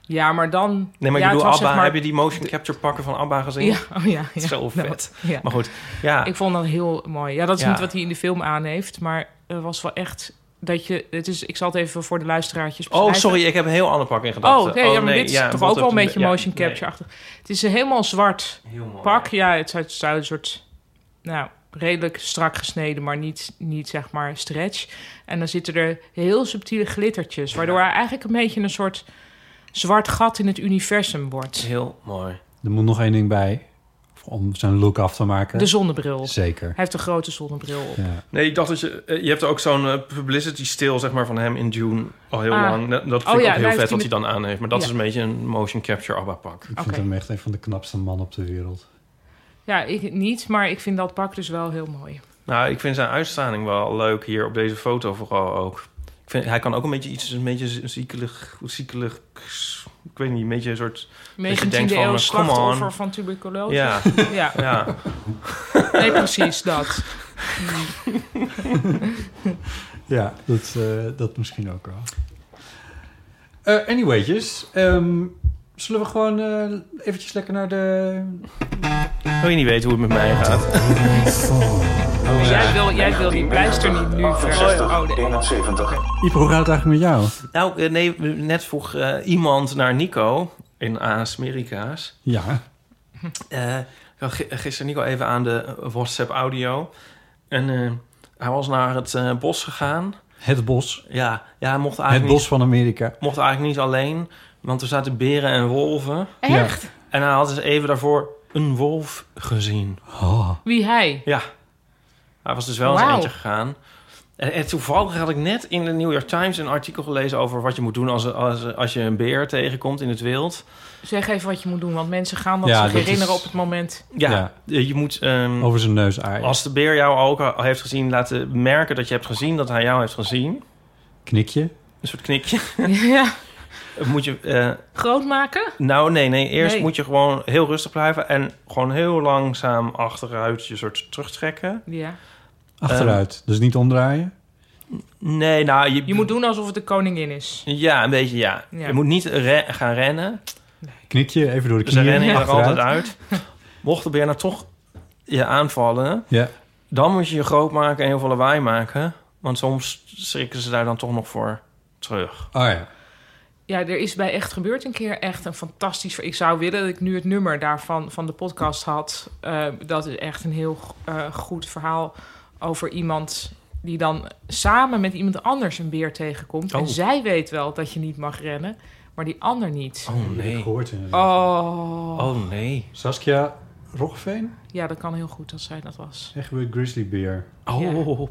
[SPEAKER 9] Ja, maar dan...
[SPEAKER 8] Nee, maar
[SPEAKER 9] ja, het
[SPEAKER 8] ik bedoel,
[SPEAKER 9] was
[SPEAKER 8] ABBA,
[SPEAKER 9] zeg maar-
[SPEAKER 8] heb je die motion capture pakken van ABBA gezien?
[SPEAKER 9] Ja, oh ja. ja.
[SPEAKER 8] Zo
[SPEAKER 9] Nou,
[SPEAKER 8] vet.
[SPEAKER 9] ja.
[SPEAKER 8] Maar goed, ja.
[SPEAKER 9] Ik vond dat heel mooi. Ja, dat is
[SPEAKER 8] Ja.
[SPEAKER 9] niet wat hij in de film aan heeft, maar het was wel echt dat je... Het is, ik zal het even voor de luisteraartjes
[SPEAKER 8] Oh,
[SPEAKER 9] beschrijven.
[SPEAKER 8] sorry, ik heb een heel ander pak in
[SPEAKER 9] Oh,
[SPEAKER 8] gedachten.
[SPEAKER 9] nee, ja, maar dit is
[SPEAKER 8] ja,
[SPEAKER 9] toch
[SPEAKER 8] wat
[SPEAKER 9] ook wel een
[SPEAKER 8] heb-
[SPEAKER 9] beetje
[SPEAKER 8] ja,
[SPEAKER 9] motion
[SPEAKER 8] nee.
[SPEAKER 9] capture-achtig. Het is een helemaal zwart pak. Ja, het zou, het zou een soort... Nou, redelijk strak gesneden, maar niet, niet zeg maar stretch. En dan zitten er heel subtiele glittertjes... waardoor hij eigenlijk een beetje een soort zwart gat in het universum wordt.
[SPEAKER 8] Heel mooi.
[SPEAKER 10] Er moet nog één ding bij om zijn look af te maken.
[SPEAKER 9] De zonnebril.
[SPEAKER 10] Zeker.
[SPEAKER 9] Hij heeft een grote zonnebril op.
[SPEAKER 10] Ja.
[SPEAKER 8] Nee, ik dacht dat je... eh, Je hebt ook zo'n eh, publicity stil, zeg maar, van hem in June al heel
[SPEAKER 9] Ah.
[SPEAKER 8] lang. Dat dat
[SPEAKER 9] Oh
[SPEAKER 8] vind ik
[SPEAKER 9] ja,
[SPEAKER 8] ook
[SPEAKER 9] daar
[SPEAKER 8] heel
[SPEAKER 9] heeft hij
[SPEAKER 8] vet wat hij
[SPEAKER 9] met-
[SPEAKER 8] dan aan heeft. Maar dat
[SPEAKER 9] Ja. Oh.
[SPEAKER 8] is een beetje een motion capture ABBA-pak.
[SPEAKER 10] Ik vind hem echt een van de knapste mannen op de wereld.
[SPEAKER 9] Ja, ik niet, maar ik vind dat pak dus wel heel mooi.
[SPEAKER 8] Nou, ik vind zijn uitstraling wel leuk hier op deze foto vooral ook. Ik vind, hij kan ook een beetje iets, een beetje ziekelig, ziekelig, ik weet niet, een beetje een soort... dat je
[SPEAKER 9] 19e
[SPEAKER 8] denkt van,
[SPEAKER 9] eeuw
[SPEAKER 8] come on.
[SPEAKER 9] slachtoffer van tuberculose.
[SPEAKER 8] Ja.
[SPEAKER 9] ja.
[SPEAKER 8] Ja.
[SPEAKER 9] Nee, precies dat.
[SPEAKER 10] Ja, dat, eh, dat misschien ook wel. Eh anywayjes, ehm, zullen we gewoon eh, eventjes lekker naar de...
[SPEAKER 8] Wil je niet weten hoe het met mij gaat?
[SPEAKER 9] Jij wil, jij wil die pleister niet nu verder. Oh, nee.
[SPEAKER 8] 71.
[SPEAKER 10] Ipo, hoe gaat het eigenlijk met jou?
[SPEAKER 8] Nou, eh, nee, net vroeg eh, iemand naar Nico in Amerika's.
[SPEAKER 10] Ja.
[SPEAKER 8] Eh, ik had gi- gisteren Nico even aan de WhatsApp audio. En eh, hij was naar het eh, bos gegaan.
[SPEAKER 10] Het bos.
[SPEAKER 8] Ja, ja hij mocht
[SPEAKER 10] Het
[SPEAKER 8] eigenlijk,
[SPEAKER 10] bos van Amerika.
[SPEAKER 8] niet, mocht eigenlijk niet alleen. Want er zaten beren en wolven.
[SPEAKER 9] Echt?
[SPEAKER 8] En hij had dus even daarvoor een wolf gezien.
[SPEAKER 9] Wie hij?
[SPEAKER 8] Ja. Hij was dus wel eens
[SPEAKER 9] Wauw.
[SPEAKER 8] eentje gegaan. En, en toevallig had ik net in de New York Times een artikel gelezen over wat je moet doen als, als, als je een beer tegenkomt in het wild.
[SPEAKER 9] Zeg even wat je moet doen, want mensen gaan dat
[SPEAKER 10] Ja,
[SPEAKER 9] zich
[SPEAKER 10] dat
[SPEAKER 9] herinneren
[SPEAKER 10] is-
[SPEAKER 9] op het moment.
[SPEAKER 8] Ja, eh, je moet... ehm,
[SPEAKER 10] Over zijn neus aaien.
[SPEAKER 8] als de beer jou ook al heeft gezien, laten merken dat je hebt gezien dat hij jou heeft gezien.
[SPEAKER 10] Knikje.
[SPEAKER 8] Een soort knikje.
[SPEAKER 9] Ja.
[SPEAKER 8] moet je, eh,
[SPEAKER 9] Groot maken?
[SPEAKER 8] nou, nee, nee. Eerst
[SPEAKER 9] Nee.
[SPEAKER 8] moet je gewoon heel rustig blijven en gewoon heel langzaam achteruit je soort terugtrekken.
[SPEAKER 9] Ja.
[SPEAKER 10] Achteruit. dus niet omdraaien.
[SPEAKER 8] Nee, nou, je,
[SPEAKER 9] Je moet doen alsof het de koningin is.
[SPEAKER 8] Ja, een beetje ja.
[SPEAKER 9] Ja.
[SPEAKER 8] Je moet niet re- gaan rennen.
[SPEAKER 10] Knikje, even door de
[SPEAKER 8] Ze
[SPEAKER 10] knieën.
[SPEAKER 8] rennen er
[SPEAKER 10] achteruit.
[SPEAKER 8] altijd uit. Mocht de beer nou toch je aanvallen,
[SPEAKER 10] Ja.
[SPEAKER 8] dan moet je je groot maken en heel veel lawaai maken. Want soms schrikken ze daar dan toch nog voor terug.
[SPEAKER 10] Oh ja.
[SPEAKER 9] Ja, er is bij Echt Gebeurd een keer echt een fantastisch... Ik zou willen dat ik nu het nummer daarvan van de podcast had. Eh, dat is echt een heel eh, goed verhaal over iemand die dan samen met iemand anders een beer tegenkomt.
[SPEAKER 8] Oh.
[SPEAKER 9] En zij weet wel dat je niet mag rennen, maar die ander niet.
[SPEAKER 8] Oh nee.
[SPEAKER 10] Gehoord inderdaad.
[SPEAKER 9] Oh.
[SPEAKER 8] Oh nee.
[SPEAKER 10] Saskia Roggeveen.
[SPEAKER 9] Ja, dat kan heel goed dat zij dat was.
[SPEAKER 10] Echt weer Grizzly Bear.
[SPEAKER 8] Oh.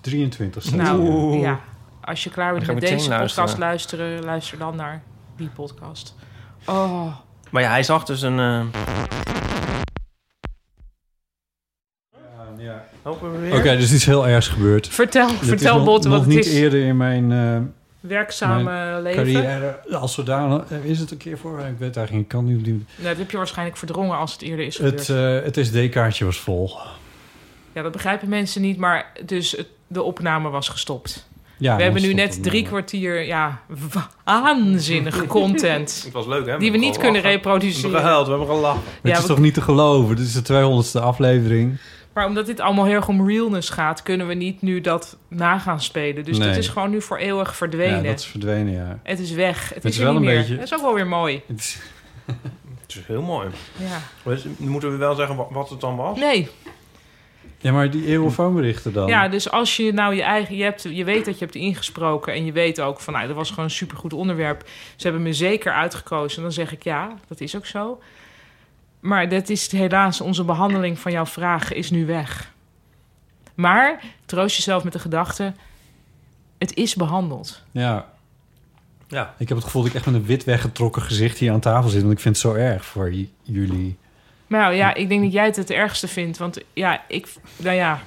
[SPEAKER 10] 223 staat
[SPEAKER 9] Nou,
[SPEAKER 10] hier.
[SPEAKER 9] ja. Als je klaar bent
[SPEAKER 8] Dan ga
[SPEAKER 9] met
[SPEAKER 8] ik
[SPEAKER 9] deze
[SPEAKER 8] meteen
[SPEAKER 9] podcast luisteren, luister dan naar die podcast. Oh.
[SPEAKER 8] Maar ja, hij zag dus een. eh Lopen we weer?
[SPEAKER 10] Oké, dus iets heel ergs gebeurd.
[SPEAKER 9] Vertel,
[SPEAKER 10] Dit is
[SPEAKER 9] vertel
[SPEAKER 10] nog-
[SPEAKER 9] Botte wat
[SPEAKER 10] nog
[SPEAKER 9] het
[SPEAKER 10] niet
[SPEAKER 9] is.
[SPEAKER 10] eerder in mijn eh,
[SPEAKER 9] Werkzame leven.
[SPEAKER 10] carrière als zodanig. eh, Is het een keer voor? Ik weet eigenlijk, niet, ik kan niet. niet-
[SPEAKER 9] Nou, dat heb je waarschijnlijk verdrongen als het eerder is gebeurd.
[SPEAKER 10] Het, eh, het SD-kaartje was vol.
[SPEAKER 9] Ja, dat begrijpen mensen niet, maar dus het- de opname was gestopt.
[SPEAKER 10] Ja,
[SPEAKER 9] we hebben nu
[SPEAKER 10] non-stop
[SPEAKER 9] net
[SPEAKER 10] opname.
[SPEAKER 9] drie kwartier, ja, waanzinnige content.
[SPEAKER 8] Het was leuk, hè?
[SPEAKER 9] Die we niet
[SPEAKER 8] hebben
[SPEAKER 9] kunnen
[SPEAKER 8] gelachen. We hebben
[SPEAKER 9] reproduceren.
[SPEAKER 8] gehuild, we hebben gelachen.
[SPEAKER 10] Maar
[SPEAKER 9] Ja,
[SPEAKER 10] het is
[SPEAKER 9] we-
[SPEAKER 10] toch niet te geloven? Dit is de 200ste aflevering.
[SPEAKER 9] Maar omdat dit allemaal heel erg om realness gaat, kunnen we niet nu dat na gaan spelen. Dus
[SPEAKER 10] Nee.
[SPEAKER 9] dat is gewoon nu voor eeuwig
[SPEAKER 10] Ja,
[SPEAKER 9] verdwenen.
[SPEAKER 10] dat is verdwenen, ja.
[SPEAKER 9] Het is weg. Het,
[SPEAKER 10] Het
[SPEAKER 9] is,
[SPEAKER 10] is
[SPEAKER 9] er
[SPEAKER 10] wel
[SPEAKER 9] niet
[SPEAKER 10] een
[SPEAKER 9] meer.
[SPEAKER 10] beetje-
[SPEAKER 9] Dat is ook wel weer mooi.
[SPEAKER 10] Het is-
[SPEAKER 8] Het is heel mooi.
[SPEAKER 9] Ja.
[SPEAKER 8] Dus moeten we wel zeggen wa- wat het dan was?
[SPEAKER 9] Nee.
[SPEAKER 10] Ja, maar die eeuwenfoonberichten dan?
[SPEAKER 9] Ja, dus als je nou je eigen... Je, hebt, je weet dat je hebt ingesproken en je weet ook van... Nou, dat was gewoon een supergoed onderwerp. Ze hebben me zeker uitgekozen. Dan zeg ik ja, dat is ook zo. Maar dat is helaas, onze behandeling van jouw vraag is nu weg. Maar troost jezelf met de gedachte: het is behandeld.
[SPEAKER 10] Ja.
[SPEAKER 8] ja.
[SPEAKER 10] Ik heb het gevoel dat ik echt met een wit weggetrokken gezicht hier aan tafel zit. Want ik vind het zo erg voor j- jullie.
[SPEAKER 9] Nou ja, ik denk dat jij het het ergste vindt. Want ja, ik. Nou ja.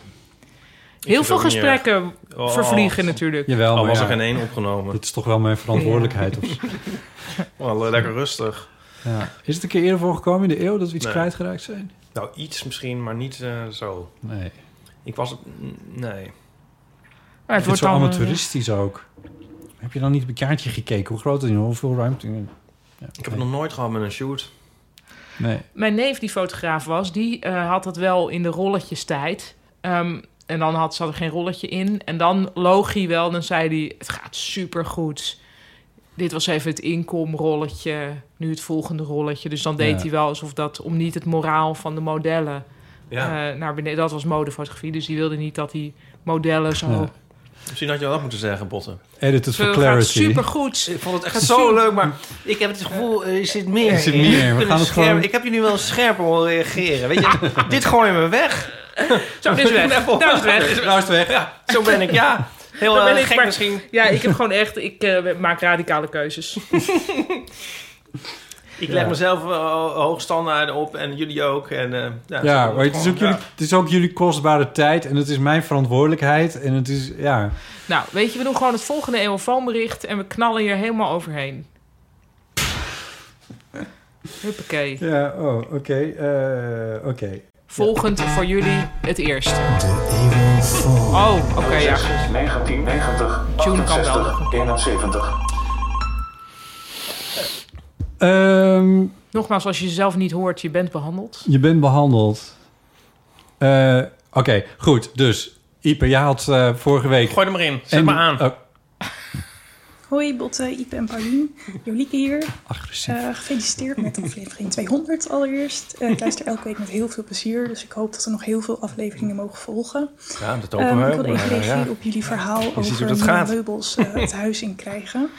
[SPEAKER 9] Heel
[SPEAKER 8] het
[SPEAKER 9] veel
[SPEAKER 8] ook niet erg.
[SPEAKER 9] gesprekken
[SPEAKER 8] Oh.
[SPEAKER 9] vervliegen natuurlijk.
[SPEAKER 10] Jawel,
[SPEAKER 8] Al
[SPEAKER 10] maar
[SPEAKER 8] was
[SPEAKER 10] ja,
[SPEAKER 8] er geen één opgenomen.
[SPEAKER 10] Dit is toch wel mijn verantwoordelijkheid. Of,
[SPEAKER 8] Wel, eh, lekker rustig.
[SPEAKER 10] ja. Is het een keer eerder voorgekomen in de eeuw dat we iets
[SPEAKER 8] Nee.
[SPEAKER 10] kwijtgeraakt zijn?
[SPEAKER 8] Nou, iets misschien, maar niet eh, zo.
[SPEAKER 10] Nee.
[SPEAKER 8] Ik was... mm, Nee.
[SPEAKER 9] Maar
[SPEAKER 10] het
[SPEAKER 9] het
[SPEAKER 10] wordt
[SPEAKER 9] wordt
[SPEAKER 10] zo
[SPEAKER 9] dan, eh,
[SPEAKER 10] amateuristisch ook. Heb je dan niet op een kaartje gekeken? Hoe groot het is, hoeveel ruimte? Ja,
[SPEAKER 8] Ik heb het nog nooit gehad met een shoot.
[SPEAKER 10] Nee.
[SPEAKER 9] Mijn neef, die fotograaf was, die eh, had dat wel in de rolletjes tijd. Ehm, en dan had, zat er geen rolletje in. En dan loog hij wel, dan zei hij: Het gaat supergoed. Dit was even het inkomrolletje, nu het volgende rolletje. Dus dan deed
[SPEAKER 8] Ja.
[SPEAKER 9] hij wel alsof dat om niet het moraal van de modellen
[SPEAKER 8] Ja.
[SPEAKER 9] eh, naar beneden. Dat was modefotografie, dus die wilde niet dat die modellen zo.
[SPEAKER 10] Ja.
[SPEAKER 8] Misschien had je dat moeten zeggen, Botten.
[SPEAKER 10] Edit het
[SPEAKER 9] Zo,
[SPEAKER 10] voor
[SPEAKER 9] dat gaat
[SPEAKER 10] clarity.
[SPEAKER 9] supergoed.
[SPEAKER 8] Ik vond het echt
[SPEAKER 9] Gaat
[SPEAKER 8] zo
[SPEAKER 9] super-
[SPEAKER 8] leuk, maar ik heb het gevoel, er zit meer
[SPEAKER 10] Er zit
[SPEAKER 8] in.
[SPEAKER 10] meer, we
[SPEAKER 8] Ik ben
[SPEAKER 10] gaan
[SPEAKER 8] een
[SPEAKER 10] het gewoon-
[SPEAKER 8] Ik heb je nu wel scherper horen reageren. Weet je, dit gooi je me weg.
[SPEAKER 9] Zo, dit is weg.
[SPEAKER 8] Even
[SPEAKER 9] Nou is het weg.
[SPEAKER 10] Nou is het weg.
[SPEAKER 8] Ja, zo ben ik, ja. Heel
[SPEAKER 9] Dan
[SPEAKER 8] eh,
[SPEAKER 9] ben ik
[SPEAKER 8] gek
[SPEAKER 9] maar-
[SPEAKER 8] misschien.
[SPEAKER 9] Ja, ik heb gewoon echt, ik eh, maak radicale keuzes.
[SPEAKER 8] Ik leg mezelf eh, hoog standaarden op en jullie ook. En, eh, ja,
[SPEAKER 10] Ja,
[SPEAKER 8] zo
[SPEAKER 10] maar het is, ook
[SPEAKER 8] gewoon,
[SPEAKER 10] jullie, het is ook jullie kostbare tijd en het is mijn verantwoordelijkheid en het is, ja...
[SPEAKER 9] Nou, weet je, we doen gewoon het volgende eeuwenfoonbericht en we knallen hier helemaal overheen. Huppakee.
[SPEAKER 10] Ja, oh, oké, eh, oké.
[SPEAKER 9] Volgend voor jullie het eerste. Oh, oké, ja.
[SPEAKER 11] 1990,
[SPEAKER 9] Tune kan wel.
[SPEAKER 11] 68, 71.
[SPEAKER 10] Ehm,
[SPEAKER 9] Nogmaals, als je jezelf niet hoort, je bent behandeld.
[SPEAKER 10] je bent behandeld. Eh, oké, goed, dus... Ipe, jij had eh, vorige week...
[SPEAKER 8] Gooi er maar in, zet maar aan.
[SPEAKER 10] oh,
[SPEAKER 12] Hoi Botte, Ipe en Paulien. Jolieke hier. Eh,
[SPEAKER 10] Agressief.
[SPEAKER 12] gefeliciteerd met aflevering 200 allereerst. Eh, ik luister elke week met heel veel plezier, dus ik hoop dat er nog heel veel afleveringen mogen volgen.
[SPEAKER 8] Ja, dat
[SPEAKER 12] Ehm,
[SPEAKER 8] hopen we.
[SPEAKER 12] Ik wilde even
[SPEAKER 8] maar, eh, ja.
[SPEAKER 12] reageren op jullie verhaal
[SPEAKER 8] Je ziet
[SPEAKER 12] over
[SPEAKER 8] hoe dat
[SPEAKER 12] nieuwe
[SPEAKER 8] gaat.
[SPEAKER 12] meubels eh, het huis in krijgen.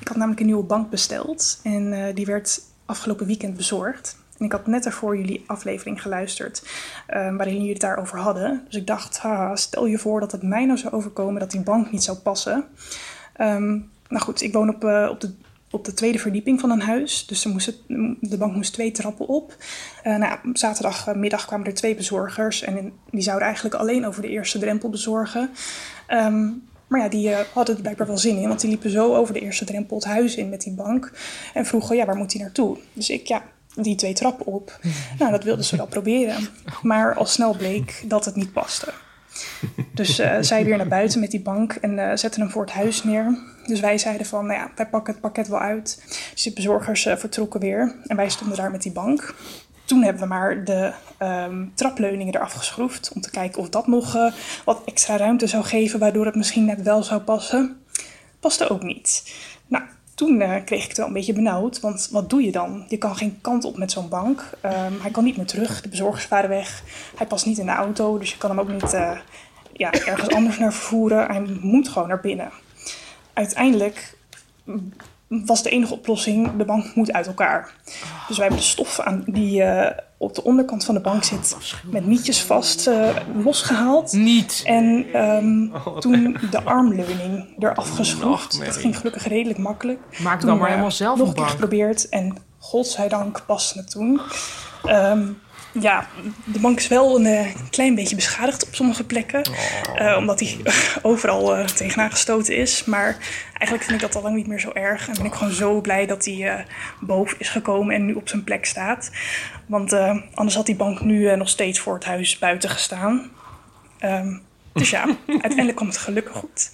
[SPEAKER 12] Ik had namelijk een nieuwe bank besteld en eh, die werd afgelopen weekend bezorgd. En ik had net daarvoor jullie aflevering geluisterd, eh, waarin jullie het daarover hadden. Dus ik dacht, haha, stel je voor dat het mij nou zou overkomen dat die bank niet zou passen. Ehm, nou goed, ik woon op, eh, op, de, op de tweede verdieping van een huis. Dus er moest het- de bank moest twee trappen op. Eh, nou, zaterdagmiddag kwamen er twee bezorgers. En in- die zouden eigenlijk alleen over de eerste drempel bezorgen. Ehm, maar ja, die eh, hadden er blijkbaar wel zin in. Want die liepen zo over de eerste drempel het huis in met die bank. En vroegen, ja, waar moet die naartoe? Dus ik, ja, die twee trappen op. Nou, dat wilden ze wel proberen. Maar al snel bleek dat het niet paste. Dus eh, zij weer naar buiten met die bank en eh, zetten hem voor het huis neer. Dus wij zeiden van, nou ja, wij pakken het pakket wel uit. Dus de bezorgers eh, vertrokken weer en wij stonden daar met die bank. Toen hebben we maar de ehm, trapleuningen eraf geschroefd om te kijken of dat nog eh, wat extra ruimte zou geven, waardoor het misschien net wel zou passen. Paste ook niet. Nou, toen eh, kreeg ik het wel een beetje benauwd, want wat doe je dan? Je kan geen kant op met zo'n bank. Ehm, hij kan niet meer terug, de bezorgers waren weg. Hij past niet in de auto, dus je kan hem ook niet eh, ja, ergens anders naar vervoeren. Hij moet gewoon naar binnen. Uiteindelijk mm, was de enige oplossing, de bank moet uit elkaar. Dus wij hebben de stof aan die eh, op de onderkant van de bank zit met nietjes vast eh, losgehaald.
[SPEAKER 9] Niet.
[SPEAKER 12] En ehm, toen de armleuning eraf geschroefd.
[SPEAKER 9] Nachtmerrie.
[SPEAKER 12] Dat ging gelukkig redelijk makkelijk.
[SPEAKER 9] Maak
[SPEAKER 12] Toen,
[SPEAKER 9] dan maar
[SPEAKER 12] eh,
[SPEAKER 9] helemaal zelf
[SPEAKER 12] nog
[SPEAKER 9] een
[SPEAKER 12] een keer
[SPEAKER 9] bank.
[SPEAKER 12] geprobeerd en godzijdank paste het toen. Ehm, ja, de bank is wel een eh, klein beetje beschadigd op sommige plekken. eh, omdat die overal eh, tegenaan gestoten is. Maar eigenlijk vind ik dat al lang niet meer zo erg. En ben ik gewoon zo blij dat die eh, boven is gekomen en nu op zijn plek staat. Want eh, anders had die bank nu eh, nog steeds voor het huis buiten gestaan. Ehm, dus ja, uiteindelijk kwam het gelukkig goed.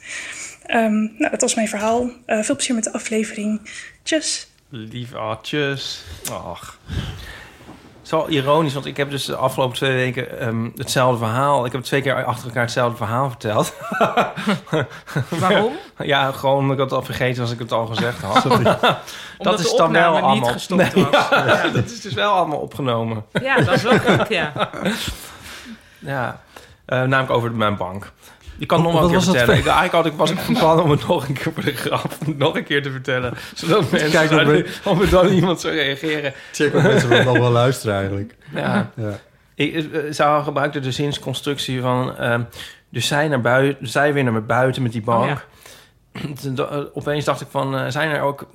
[SPEAKER 12] Ehm, nou, dat was mijn verhaal. Eh, veel plezier met de aflevering. Tjus!
[SPEAKER 8] Lief hartjes. Ach. Het is wel ironisch, want ik heb dus de afgelopen twee weken ehm, hetzelfde verhaal. Ik heb twee keer achter elkaar hetzelfde verhaal verteld.
[SPEAKER 9] Waarom?
[SPEAKER 8] Ja, gewoon omdat ik het al vergeten was als ik het al gezegd had.
[SPEAKER 9] Sorry. Omdat de opname niet gestopt was.
[SPEAKER 8] ja,
[SPEAKER 9] Ja.
[SPEAKER 8] Dat is dus wel allemaal opgenomen.
[SPEAKER 9] Ja, dat is wel gek, ja.
[SPEAKER 8] Ja, eh, namelijk over mijn bank. Je kan het nog wel
[SPEAKER 10] Wat
[SPEAKER 8] een keer
[SPEAKER 10] was dat
[SPEAKER 8] vertellen. Ik,
[SPEAKER 10] voor-
[SPEAKER 8] eigenlijk had ik, was ik van plan om het nog een keer voor de grap nog een keer te vertellen. Zodat mensen,
[SPEAKER 10] Kijk,
[SPEAKER 8] zouden-
[SPEAKER 10] dan
[SPEAKER 8] of er dan iemand zou reageren.
[SPEAKER 10] Check of mensen dat wel luisteren eigenlijk.
[SPEAKER 8] Ja.
[SPEAKER 10] Ja.
[SPEAKER 8] Ik, eh, Sarah gebruikte de zinsconstructie van... ehm, dus zij, naar buiten, zij weer naar buiten met die bank. Toen da- eh, Opeens dacht ik van, eh, zijn er ook...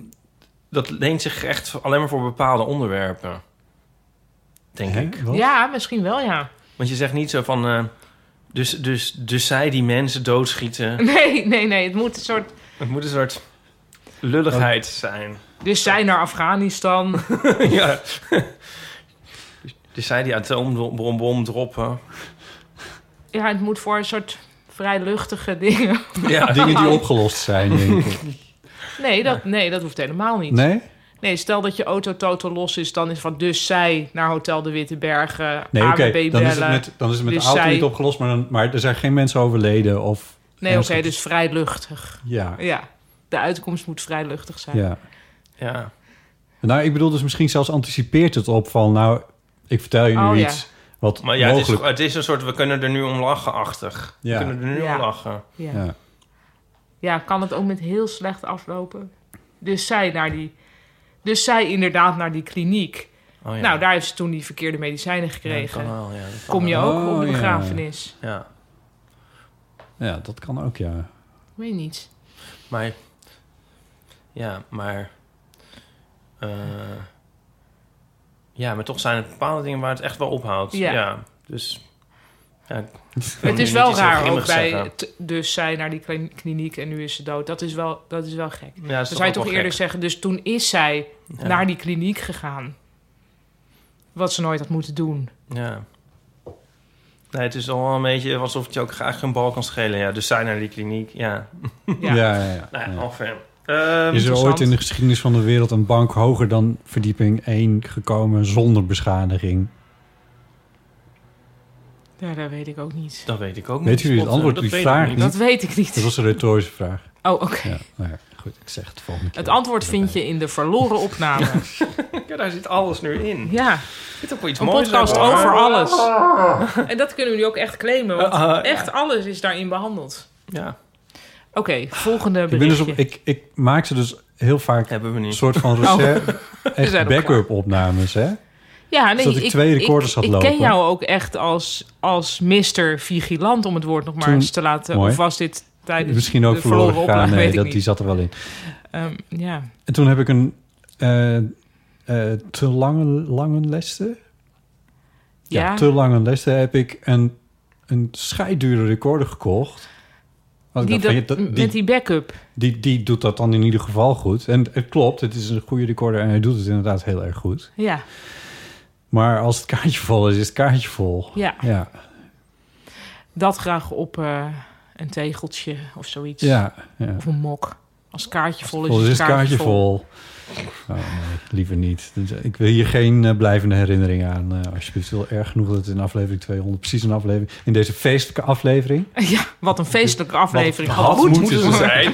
[SPEAKER 8] Dat leent zich echt alleen maar voor bepaalde onderwerpen. Denk ik.
[SPEAKER 9] Ja, misschien wel, ja.
[SPEAKER 8] Want je zegt niet zo van... eh, dus, dus, dus zij die mensen doodschieten.
[SPEAKER 9] Nee, nee, nee. Het moet een soort...
[SPEAKER 8] Het moet een soort lulligheid zijn.
[SPEAKER 9] Dus zij naar Afghanistan.
[SPEAKER 8] ja. Dus- Dus zij die atoombom droppen.
[SPEAKER 9] Ja, het moet voor een soort vrij luchtige dingen.
[SPEAKER 8] Ja.
[SPEAKER 10] Dingen die opgelost zijn, denk ik.
[SPEAKER 9] Nee, dat, nee, dat hoeft helemaal niet.
[SPEAKER 10] Nee?
[SPEAKER 9] Nee, stel dat je auto totaal los is, dan is van dus zij naar Hotel de Witte Bergen,
[SPEAKER 10] Nee,
[SPEAKER 9] AWB
[SPEAKER 10] oké. Dan is het
[SPEAKER 9] bellen.
[SPEAKER 10] met, dan is het met
[SPEAKER 9] Dus
[SPEAKER 10] de auto
[SPEAKER 9] zij-
[SPEAKER 10] niet opgelost, maar, dan, maar er zijn geen mensen overleden. Of,
[SPEAKER 9] Nee, oké, dus vrij luchtig.
[SPEAKER 10] Ja.
[SPEAKER 9] ja. De uitkomst moet vrij luchtig zijn.
[SPEAKER 10] Ja.
[SPEAKER 8] Ja.
[SPEAKER 10] Nou, ik bedoel dus misschien zelfs anticipeert het op van... nou, ik vertel je nu
[SPEAKER 9] Oh, ja.
[SPEAKER 10] iets wat
[SPEAKER 8] Maar ja, het is,
[SPEAKER 10] mogelijk...
[SPEAKER 8] het is een soort, we kunnen er nu om lachen-achtig.
[SPEAKER 10] Ja.
[SPEAKER 8] We kunnen er nu
[SPEAKER 9] Ja.
[SPEAKER 8] om lachen.
[SPEAKER 9] Ja.
[SPEAKER 10] Ja.
[SPEAKER 9] Ja, kan het ook met heel slecht aflopen. Dus zij naar die... Dus zij inderdaad naar die kliniek.
[SPEAKER 8] Oh ja.
[SPEAKER 9] Nou, daar heeft ze toen die verkeerde medicijnen gekregen.
[SPEAKER 8] kan wel, ja, dat kan
[SPEAKER 9] Kom je
[SPEAKER 10] wel.
[SPEAKER 9] ook op de
[SPEAKER 10] Oh, ja.
[SPEAKER 9] begrafenis?
[SPEAKER 8] Ja.
[SPEAKER 10] Ja, dat kan ook, ja.
[SPEAKER 9] Ik weet niet.
[SPEAKER 8] Maar, ja, maar... eh, ja, maar toch zijn er bepaalde dingen waar het echt wel ophoudt.
[SPEAKER 9] Ja.
[SPEAKER 8] Ja. dus... Ja, ik wil
[SPEAKER 9] Het
[SPEAKER 8] nu
[SPEAKER 9] is
[SPEAKER 8] niet
[SPEAKER 9] wel
[SPEAKER 8] iets heel
[SPEAKER 9] raar ook
[SPEAKER 8] grimmigs
[SPEAKER 9] bij...
[SPEAKER 8] zeggen.
[SPEAKER 9] t- Dus zij naar die klin- kliniek en nu is ze dood. Dat is wel, dat is wel gek.
[SPEAKER 8] is
[SPEAKER 9] Dan
[SPEAKER 8] toch
[SPEAKER 9] zou je
[SPEAKER 8] ook
[SPEAKER 9] toch
[SPEAKER 8] wel
[SPEAKER 9] eerder
[SPEAKER 8] gek.
[SPEAKER 9] zeggen... Dus toen is zij
[SPEAKER 8] Ja.
[SPEAKER 9] naar die kliniek gegaan. Wat ze nooit had moeten doen.
[SPEAKER 8] Ja. Nee, het is al wel een beetje alsof het je ook graag een bal kan schelen. Ja, dus zij naar die kliniek, ja.
[SPEAKER 10] Ja, ja, ja.
[SPEAKER 8] Nou
[SPEAKER 10] Ja.
[SPEAKER 8] ja, ongeveer. Ehm,
[SPEAKER 10] is er ooit
[SPEAKER 8] interessant.
[SPEAKER 10] in de geschiedenis van de wereld een bank hoger dan verdieping 1 gekomen zonder beschadiging?
[SPEAKER 9] Ja, dat weet ik ook niet.
[SPEAKER 8] Dat weet ik ook eh,
[SPEAKER 10] Weet jullie het antwoord op die vraag niet?
[SPEAKER 9] Dat weet ik niet.
[SPEAKER 10] Dat was een retorische vraag.
[SPEAKER 9] Oh, oké.
[SPEAKER 10] Ja, nou ja, goed, ik zeg het volgende keer.
[SPEAKER 9] Het antwoord vind je in de verloren opname.
[SPEAKER 8] Ja, daar zit alles nu in.
[SPEAKER 9] Ja.
[SPEAKER 8] Er zit ook wel iets
[SPEAKER 9] Een
[SPEAKER 8] moois
[SPEAKER 9] podcast
[SPEAKER 8] aan.
[SPEAKER 9] over alles. En dat kunnen jullie ook echt claimen, want
[SPEAKER 8] Eh,
[SPEAKER 10] Ah,
[SPEAKER 8] eh, ja.
[SPEAKER 9] echt alles is daarin behandeld.
[SPEAKER 8] Ja.
[SPEAKER 9] Oké, volgende
[SPEAKER 10] Ik, ben dus
[SPEAKER 9] berichtje.
[SPEAKER 10] op, ik, ik maak ze dus heel vaak een soort van
[SPEAKER 9] Oh.
[SPEAKER 10] reserve,
[SPEAKER 9] We zijn
[SPEAKER 10] eh, echt
[SPEAKER 9] nog
[SPEAKER 10] backup opnames, hè?
[SPEAKER 9] ja, nee,
[SPEAKER 10] zodat ik twee recorders had
[SPEAKER 9] ik,
[SPEAKER 10] lopen.
[SPEAKER 9] Ik ken jou ook echt als, als Mr. Vigilant, om het woord nog maar
[SPEAKER 10] Toen-
[SPEAKER 9] eens te laten.
[SPEAKER 10] Mooi.
[SPEAKER 9] Of was dit tijdens
[SPEAKER 10] Misschien ook
[SPEAKER 9] de
[SPEAKER 10] verloren
[SPEAKER 9] verloren
[SPEAKER 10] gegaan.
[SPEAKER 9] opname?
[SPEAKER 10] Nee,
[SPEAKER 9] weet ik
[SPEAKER 10] dat,
[SPEAKER 9] niet.
[SPEAKER 10] die zat er wel in.
[SPEAKER 9] Ehm, ja.
[SPEAKER 10] En toen heb ik een eh, eh, te lange, lange leste. Ja.
[SPEAKER 9] Ja.
[SPEAKER 10] te lange leste heb ik een, een scheidure recorder gekocht. Want ik
[SPEAKER 9] Die
[SPEAKER 10] dacht van,
[SPEAKER 9] dat-
[SPEAKER 10] ja, dat-
[SPEAKER 9] met die backup.
[SPEAKER 10] die, die doet dat dan in ieder geval goed. En het klopt, het is een goede recorder en hij doet het inderdaad heel erg goed.
[SPEAKER 9] Ja.
[SPEAKER 10] Maar als het kaartje vol is, is het kaartje vol.
[SPEAKER 9] Ja.
[SPEAKER 10] Ja.
[SPEAKER 9] Dat graag op eh, een tegeltje of zoiets.
[SPEAKER 10] Ja, ja.
[SPEAKER 9] Of een mok. Als het kaartje vol is,
[SPEAKER 10] Vol is
[SPEAKER 9] het
[SPEAKER 10] het kaartje vol. Oh, nee, liever niet. Dus, eh, Ik wil hier geen eh, blijvende herinnering aan. eh, alsjeblieft, Het is wel erg genoeg dat het in aflevering 200 precies een aflevering... in deze feestelijke aflevering...
[SPEAKER 9] Ja, wat een feestelijke aflevering.
[SPEAKER 10] had moeten zijn.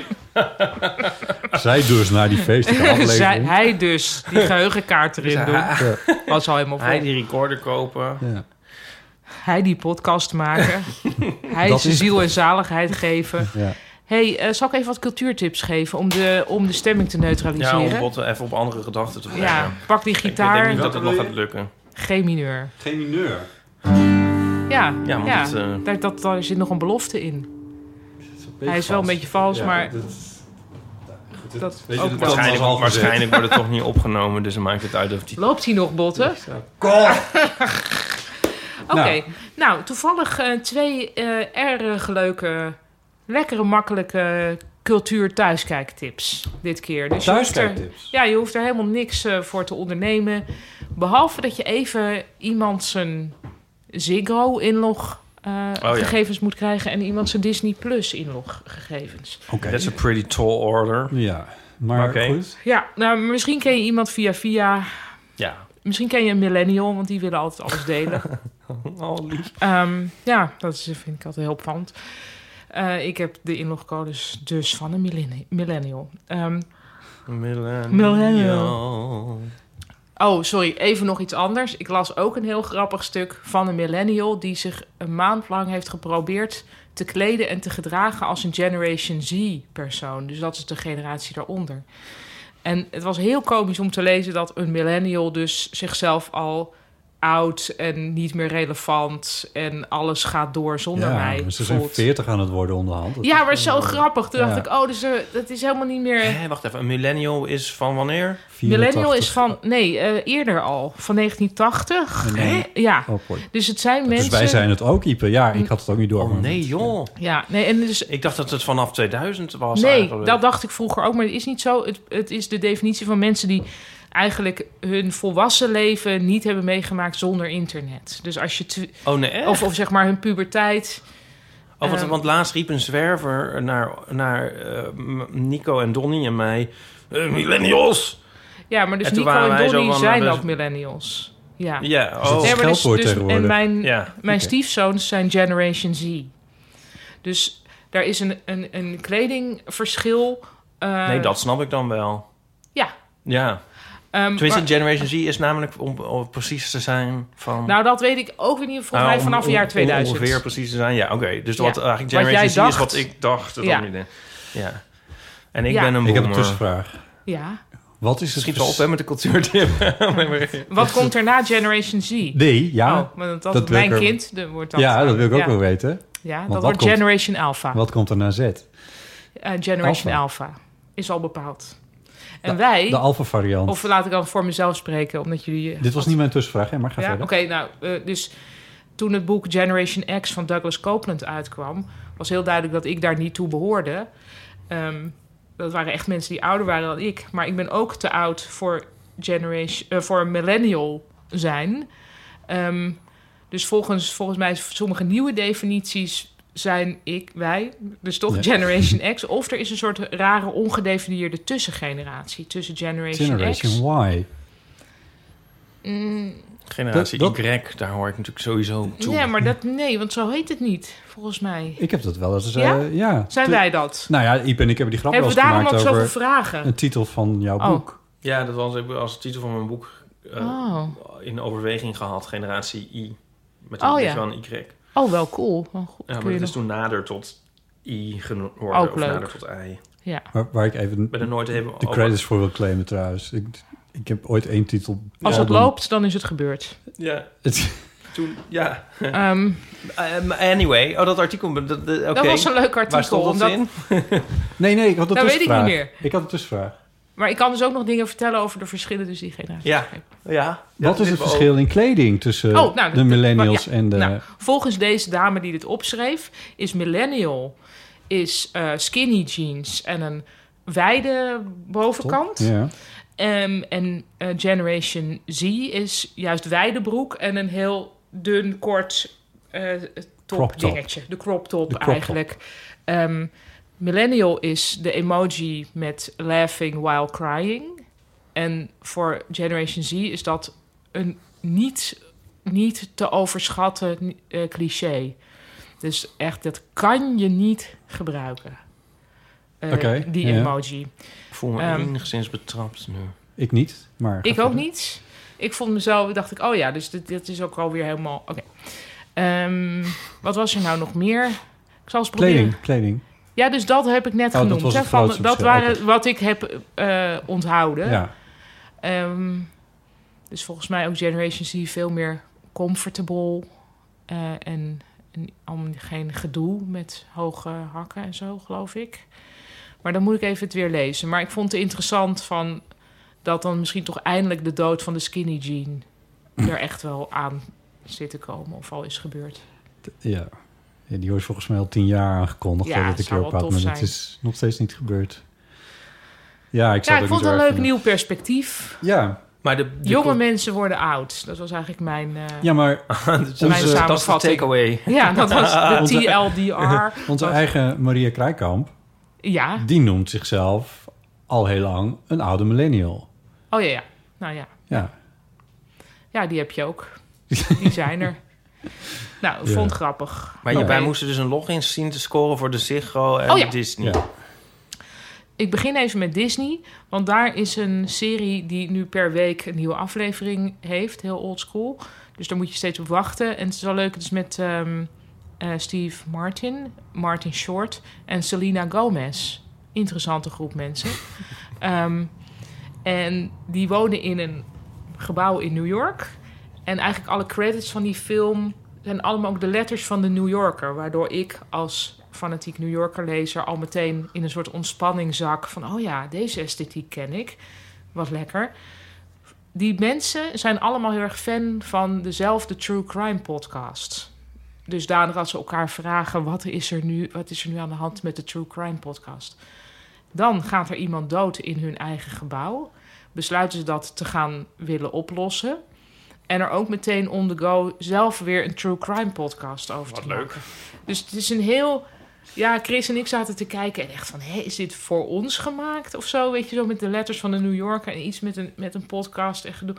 [SPEAKER 10] zij dus naar die feestelijke aflevering...
[SPEAKER 9] Zij- hij dus, die geheugenkaart erin
[SPEAKER 8] Dus
[SPEAKER 9] doen.
[SPEAKER 8] hij-
[SPEAKER 9] Was al helemaal vol.
[SPEAKER 8] Hij die recorder kopen.
[SPEAKER 10] Ja.
[SPEAKER 9] Hij die podcast maken. hij
[SPEAKER 8] Dat
[SPEAKER 9] zijn
[SPEAKER 8] is-
[SPEAKER 9] ziel en zaligheid geven.
[SPEAKER 10] Ja.
[SPEAKER 9] hey, eh, zal ik even wat cultuurtips geven om de, om de stemming te
[SPEAKER 8] Ja, om
[SPEAKER 9] neutraliseren?
[SPEAKER 8] botten even op andere gedachten te brengen.
[SPEAKER 9] Ja, pak die
[SPEAKER 8] Ik
[SPEAKER 9] gitaar.
[SPEAKER 8] denk niet dat het nog gaat lukken.
[SPEAKER 9] G mineur.
[SPEAKER 10] Geen mineur.
[SPEAKER 9] Ja,
[SPEAKER 8] Ja,
[SPEAKER 9] ja,
[SPEAKER 8] maar dat, eh,
[SPEAKER 9] daar, dat, daar zit nog een belofte in. Hij is wel een beetje vals,
[SPEAKER 10] Ja,
[SPEAKER 9] maar...
[SPEAKER 10] dat-
[SPEAKER 9] dat,
[SPEAKER 10] weet je,
[SPEAKER 9] ook
[SPEAKER 10] dat
[SPEAKER 9] wel.
[SPEAKER 10] was al
[SPEAKER 8] Waarschijnlijk,
[SPEAKER 10] gezegd.
[SPEAKER 8] waarschijnlijk wordt het toch niet opgenomen, dus dan maakt het uit of die...
[SPEAKER 9] Loopt hij nog, Botten?
[SPEAKER 10] Oké,
[SPEAKER 9] nou. toevallig eh, twee eh, erg leuke, lekkere, makkelijke cultuur thuiskijktips dit keer. Dus je hoeft er-
[SPEAKER 10] Thuiskijktips?
[SPEAKER 9] Ja, je hoeft er helemaal niks eh, voor te ondernemen. Behalve dat je even iemand zijn Ziggo-inlog eh,
[SPEAKER 8] ja.
[SPEAKER 9] gegevens moet krijgen... en iemand zijn Disney Plus-inlog gegevens.
[SPEAKER 8] That's a pretty tall order.
[SPEAKER 10] Ja, maar goed.
[SPEAKER 9] Ja, nou, misschien ken je iemand via via.
[SPEAKER 8] Ja.
[SPEAKER 9] Misschien ken je een millennial, want die willen altijd alles delen.
[SPEAKER 8] Al lief.
[SPEAKER 9] Ehm, ja, dat is, vind ik altijd heel opvallend. Eh, ik heb de inlogcodes dus van een millenni- millennial. Ehm,
[SPEAKER 8] Millennial.
[SPEAKER 9] Millennial. oh, sorry, even nog iets anders. Ik las ook een heel grappig stuk van een millennial... die zich een maand lang heeft geprobeerd te kleden en te gedragen als een Generation Z-persoon. Dus dat is de generatie daaronder. En het was heel komisch om te lezen dat een millennial dus zichzelf al oud en niet meer relevant en alles gaat door zonder
[SPEAKER 10] ja,
[SPEAKER 9] mij.
[SPEAKER 10] maar ze zijn
[SPEAKER 9] voelt.
[SPEAKER 10] 40 aan het worden onderhand. Dat
[SPEAKER 9] Ja, maar
[SPEAKER 10] is wel-
[SPEAKER 9] zo grappig. Toen
[SPEAKER 10] Ja.
[SPEAKER 9] dacht ik, oh, dus, eh, dat is helemaal niet meer...
[SPEAKER 8] Hé, wacht even, een millennial is van wanneer?
[SPEAKER 9] Millennial is van, nee, eh, eerder al, van 1980.
[SPEAKER 10] Nee.
[SPEAKER 9] Hè? Ja,
[SPEAKER 10] Oh, boy.
[SPEAKER 9] dus het zijn
[SPEAKER 10] Dus
[SPEAKER 9] mensen...
[SPEAKER 10] wij zijn het ook, Ipe. Ja, ik had het ook niet door. maar-
[SPEAKER 8] Oh, Nee, joh.
[SPEAKER 9] Ja, nee, en dus...
[SPEAKER 8] Ik dacht dat het vanaf 2000 was
[SPEAKER 9] nee,
[SPEAKER 8] eigenlijk.
[SPEAKER 9] dat dacht ik vroeger ook, maar het is niet zo. Het, het is de definitie van mensen die eigenlijk hun volwassen leven niet hebben meegemaakt zonder internet. Dus als je... tw-
[SPEAKER 8] Oh, nee, echt?
[SPEAKER 9] Of, of zeg maar hun puberteit.
[SPEAKER 8] Oh, want,
[SPEAKER 9] Ehm.
[SPEAKER 8] want laatst riep een zwerver naar, naar eh, m- Nico en Donnie en mij... eh, millennials!
[SPEAKER 9] Ja, maar dus
[SPEAKER 8] En toen
[SPEAKER 9] Nico
[SPEAKER 8] waren wij
[SPEAKER 9] en
[SPEAKER 8] zo
[SPEAKER 9] Donnie
[SPEAKER 8] van,
[SPEAKER 9] zijn
[SPEAKER 8] eh, dus-
[SPEAKER 9] ook millennials. Ja,
[SPEAKER 8] Ja, Is dat oh.
[SPEAKER 9] Nee, maar dus,
[SPEAKER 8] scheldwoord
[SPEAKER 9] dus- en
[SPEAKER 8] tegenwoordig?
[SPEAKER 9] mijn,
[SPEAKER 8] Ja.
[SPEAKER 9] mijn
[SPEAKER 8] Oké.
[SPEAKER 9] stiefzoons zijn Generation Z. Dus daar is een, een, een kledingverschil. eh,
[SPEAKER 8] nee, dat snap ik dan wel.
[SPEAKER 9] Ja.
[SPEAKER 8] Ja.
[SPEAKER 9] Ehm,
[SPEAKER 8] Tenminste,
[SPEAKER 9] maar-
[SPEAKER 8] Generation Z is namelijk, om, om precies te zijn, van...
[SPEAKER 9] Nou, dat weet ik ook weer niet. Volgens
[SPEAKER 8] Nou,
[SPEAKER 10] Ah,
[SPEAKER 9] mij
[SPEAKER 8] om-
[SPEAKER 9] vanaf
[SPEAKER 8] om-
[SPEAKER 9] het jaar
[SPEAKER 8] om
[SPEAKER 9] 2000.
[SPEAKER 8] Ongeveer precies te zijn, ja, oké. Dus
[SPEAKER 9] Ja.
[SPEAKER 8] wat eigenlijk
[SPEAKER 9] Wat
[SPEAKER 8] Generation Z
[SPEAKER 9] jij
[SPEAKER 8] is
[SPEAKER 9] dacht.
[SPEAKER 8] wat ik dacht. Dat
[SPEAKER 9] Ja.
[SPEAKER 8] niet, hè. ja. En ik
[SPEAKER 9] Ja.
[SPEAKER 8] ben een
[SPEAKER 10] Ik heb een
[SPEAKER 8] boomer.
[SPEAKER 10] tussenvraag.
[SPEAKER 9] Ja.
[SPEAKER 10] Wat is het
[SPEAKER 8] Schiet
[SPEAKER 10] vers-
[SPEAKER 8] wel op hè, met de cultuurtip.
[SPEAKER 9] Wat komt er na Generation Z?
[SPEAKER 10] Nee, ja.
[SPEAKER 9] Oh, want dat,
[SPEAKER 10] Dat wil
[SPEAKER 9] mijn
[SPEAKER 10] ik er-
[SPEAKER 9] kind de, wordt dat.
[SPEAKER 10] Ja, dat wil ik ook
[SPEAKER 9] Ja.
[SPEAKER 10] wel weten.
[SPEAKER 9] Ja,
[SPEAKER 10] Want
[SPEAKER 9] dat
[SPEAKER 10] wat
[SPEAKER 9] wordt
[SPEAKER 10] komt-
[SPEAKER 9] Generation Alpha.
[SPEAKER 10] Wat komt er na Z?
[SPEAKER 9] Eh, Generation Alpha. is al bepaald. En wij...
[SPEAKER 10] de alpha variant.
[SPEAKER 9] Of laat ik dan voor mezelf spreken, omdat jullie...
[SPEAKER 10] Dit was niet mijn tussenvraag, hè, maar ga
[SPEAKER 9] Ja, oké,
[SPEAKER 10] verder.
[SPEAKER 9] nou, eh, dus toen het boek Generation X van Douglas Copeland uitkwam, was heel duidelijk dat ik daar niet toe behoorde. Ehm, dat waren echt mensen die ouder waren dan ik, maar ik ben ook te oud voor generation, eh, voor millennial zijn. Ehm, dus volgens, volgens mij sommige nieuwe definities zijn ik, wij, dus toch
[SPEAKER 10] Ja.
[SPEAKER 9] Generation X. Of er is een soort rare ongedefinieerde tussengeneratie tussen Generation, X.
[SPEAKER 10] Generation Y.
[SPEAKER 9] Mm,
[SPEAKER 8] Generatie
[SPEAKER 10] Dat-
[SPEAKER 8] Y, daar hoor ik natuurlijk sowieso toe.
[SPEAKER 9] Ja, maar dat, nee, want zo heet het niet, volgens mij.
[SPEAKER 10] Ik heb dat wel eens...
[SPEAKER 9] Ja?
[SPEAKER 10] eh, ja.
[SPEAKER 9] Zijn
[SPEAKER 10] Toen-
[SPEAKER 9] wij dat?
[SPEAKER 10] Nou ja, Iep en ik hebben die grap wel
[SPEAKER 9] Hebben
[SPEAKER 10] eens
[SPEAKER 9] we daarom
[SPEAKER 10] gemaakt
[SPEAKER 9] ook zoveel
[SPEAKER 10] over
[SPEAKER 9] vragen?
[SPEAKER 10] een titel van jouw
[SPEAKER 9] Oh.
[SPEAKER 10] boek.
[SPEAKER 8] Ja, dat was ik als titel van mijn boek eh,
[SPEAKER 9] Oh.
[SPEAKER 8] in overweging gehad. Generatie Y. Met een
[SPEAKER 9] Oh,
[SPEAKER 8] is
[SPEAKER 9] ja.
[SPEAKER 8] wel een Y.
[SPEAKER 9] Oh, wel cool. Oh, goed,
[SPEAKER 8] Ja,
[SPEAKER 9] kun
[SPEAKER 8] maar
[SPEAKER 9] je
[SPEAKER 8] dat is
[SPEAKER 9] nog-
[SPEAKER 8] toen nader tot I geworden.
[SPEAKER 9] Ook
[SPEAKER 8] of
[SPEAKER 9] leuk.
[SPEAKER 8] nader tot I.
[SPEAKER 9] Ja.
[SPEAKER 10] Waar, waar ik even
[SPEAKER 8] Ben er nooit even
[SPEAKER 10] de
[SPEAKER 8] over-
[SPEAKER 10] credits voor wil claimen trouwens. Ik, ik heb ooit één titel...
[SPEAKER 9] Als het
[SPEAKER 10] album-
[SPEAKER 9] loopt, dan is het gebeurd.
[SPEAKER 8] Ja.
[SPEAKER 10] Het-
[SPEAKER 8] Toen, ja.
[SPEAKER 9] Ehm.
[SPEAKER 8] Ehm, anyway, oh, dat artikel. Dat, dat, oké.
[SPEAKER 9] was een leuk
[SPEAKER 8] Waar
[SPEAKER 9] artikel,
[SPEAKER 8] stond dat
[SPEAKER 9] omdat-
[SPEAKER 8] in?
[SPEAKER 10] Nee, nee, ik
[SPEAKER 9] Dat Nou,
[SPEAKER 10] had een
[SPEAKER 9] weet ik niet
[SPEAKER 10] tussenvraag.
[SPEAKER 9] meer.
[SPEAKER 10] Ik had een tussenvraag.
[SPEAKER 9] Maar ik kan dus ook nog dingen vertellen over de verschillen tussen die generaties.
[SPEAKER 8] Ja. ja.
[SPEAKER 10] Wat is het verschil in kleding tussen
[SPEAKER 9] Oh, nou,
[SPEAKER 10] de
[SPEAKER 9] dat-
[SPEAKER 10] millennials
[SPEAKER 9] ja.
[SPEAKER 10] en eh, de...
[SPEAKER 9] Nou, volgens deze dame die dit opschreef, is millennial is eh, skinny jeans en een wijde bovenkant.
[SPEAKER 10] ja.
[SPEAKER 9] Ehm, en eh, Generation Z is juist wijde broek en een heel dun, kort eh
[SPEAKER 10] Crop
[SPEAKER 9] top
[SPEAKER 10] top.
[SPEAKER 9] dingetje. De crop top
[SPEAKER 10] De crop top.
[SPEAKER 9] eigenlijk. Ehm, millennial is de emoji met laughing while crying. En voor Generation Z is dat een niet, niet te overschatten eh, cliché. Dus echt, dat kan je niet gebruiken. Eh,
[SPEAKER 10] Oké,
[SPEAKER 9] die
[SPEAKER 10] ja.
[SPEAKER 9] emoji.
[SPEAKER 8] Ik voel me
[SPEAKER 9] Ehm,
[SPEAKER 8] enigszins betrapt nu.
[SPEAKER 10] Ik niet, maar...
[SPEAKER 9] ik ook niet. Ik vond mezelf, dacht ik, oh ja, dus dit, dit is ook alweer helemaal. Oké. Ehm, wat was er nou nog meer? Ik zal eens proberen.
[SPEAKER 10] Kleding, kleding.
[SPEAKER 9] Ja, dus dat heb ik net
[SPEAKER 10] Oh, dat
[SPEAKER 9] genoemd.
[SPEAKER 10] was het
[SPEAKER 9] hè, van-
[SPEAKER 10] grootste
[SPEAKER 9] dat
[SPEAKER 10] verschil,
[SPEAKER 9] waren wat ik heb eh, onthouden.
[SPEAKER 10] Ja.
[SPEAKER 9] Ehm, dus volgens mij ook Generation Z veel meer comfortable eh, en, en om geen gedoe met hoge hakken en zo, geloof ik. Maar dan moet ik even het weer lezen. Maar ik vond het interessant van dat dan misschien toch eindelijk de dood van de skinny jean er echt wel aan zit te komen of al is gebeurd.
[SPEAKER 10] Ja. Ja, die wordt volgens mij al tien jaar aangekondigd.
[SPEAKER 9] Ja,
[SPEAKER 10] hè,
[SPEAKER 9] het
[SPEAKER 10] dat ik
[SPEAKER 9] zou
[SPEAKER 10] erop
[SPEAKER 9] wel
[SPEAKER 10] had,
[SPEAKER 9] tof
[SPEAKER 10] maar het
[SPEAKER 9] zijn.
[SPEAKER 10] is nog steeds niet gebeurd. Ja, ik,
[SPEAKER 9] ja,
[SPEAKER 10] zou
[SPEAKER 9] ik vond het
[SPEAKER 10] het
[SPEAKER 9] een
[SPEAKER 10] ook
[SPEAKER 9] leuk
[SPEAKER 10] niet zo erg
[SPEAKER 9] nieuw perspectief.
[SPEAKER 10] vinden. Ja.
[SPEAKER 8] Maar de, de
[SPEAKER 9] Jonge
[SPEAKER 8] cult-
[SPEAKER 9] mensen worden oud. Dat was eigenlijk mijn. eh,
[SPEAKER 10] Ja, maar...
[SPEAKER 8] Dat is-
[SPEAKER 9] Mijn
[SPEAKER 8] dat is de
[SPEAKER 9] samenvatting.
[SPEAKER 8] takeaway.
[SPEAKER 9] Ja, dat was de
[SPEAKER 10] Onze-
[SPEAKER 9] TLDR.
[SPEAKER 10] Onze
[SPEAKER 9] was-
[SPEAKER 10] eigen Maria Krijkamp,
[SPEAKER 9] Ja.
[SPEAKER 10] die noemt zichzelf al heel lang een oude millennial.
[SPEAKER 9] Oh ja, ja. Nou ja.
[SPEAKER 10] Ja.
[SPEAKER 9] Ja, die heb je ook. Die zijn er. Nou, ik
[SPEAKER 8] Ja.
[SPEAKER 9] vond het grappig.
[SPEAKER 10] Nou,
[SPEAKER 8] Maar
[SPEAKER 9] Oké.
[SPEAKER 8] wij moesten dus een login zien te scoren voor de Ziggo en
[SPEAKER 9] Oh ja.
[SPEAKER 8] Disney.
[SPEAKER 9] Ik begin even met Disney. Want daar is een serie die nu per week een nieuwe aflevering heeft. Heel oldschool. Dus daar moet je steeds op wachten. En het is wel leuk. Het is met ehm, eh, eh, Steve Martin, Martin Short en Selena Gomez. Interessante groep mensen. Ehm, en die wonen in een gebouw in New York. En eigenlijk alle credits van die film zijn allemaal ook de letters van de New Yorker. Waardoor ik als fanatiek New Yorker lezer al meteen in een soort ontspanning zak. Van oh ja, deze esthetiek ken ik. Wat lekker. Die mensen zijn allemaal heel erg fan van dezelfde True Crime podcast. Dus daardoor als ze elkaar vragen: wat is er nu, wat is er nu aan de hand met de True Crime podcast? Dan gaat er iemand dood in hun eigen gebouw. Besluiten ze dat te gaan willen oplossen. En er ook meteen on the go zelf weer een True Crime podcast over
[SPEAKER 8] Wat
[SPEAKER 9] te
[SPEAKER 8] leuk.
[SPEAKER 9] maken. Dus het is een heel... Ja, Chris en ik zaten te kijken en echt van... Hé, is dit voor ons gemaakt of zo? Weet je, zo met de letters van de New Yorker en iets met een, met een podcast en gedoe.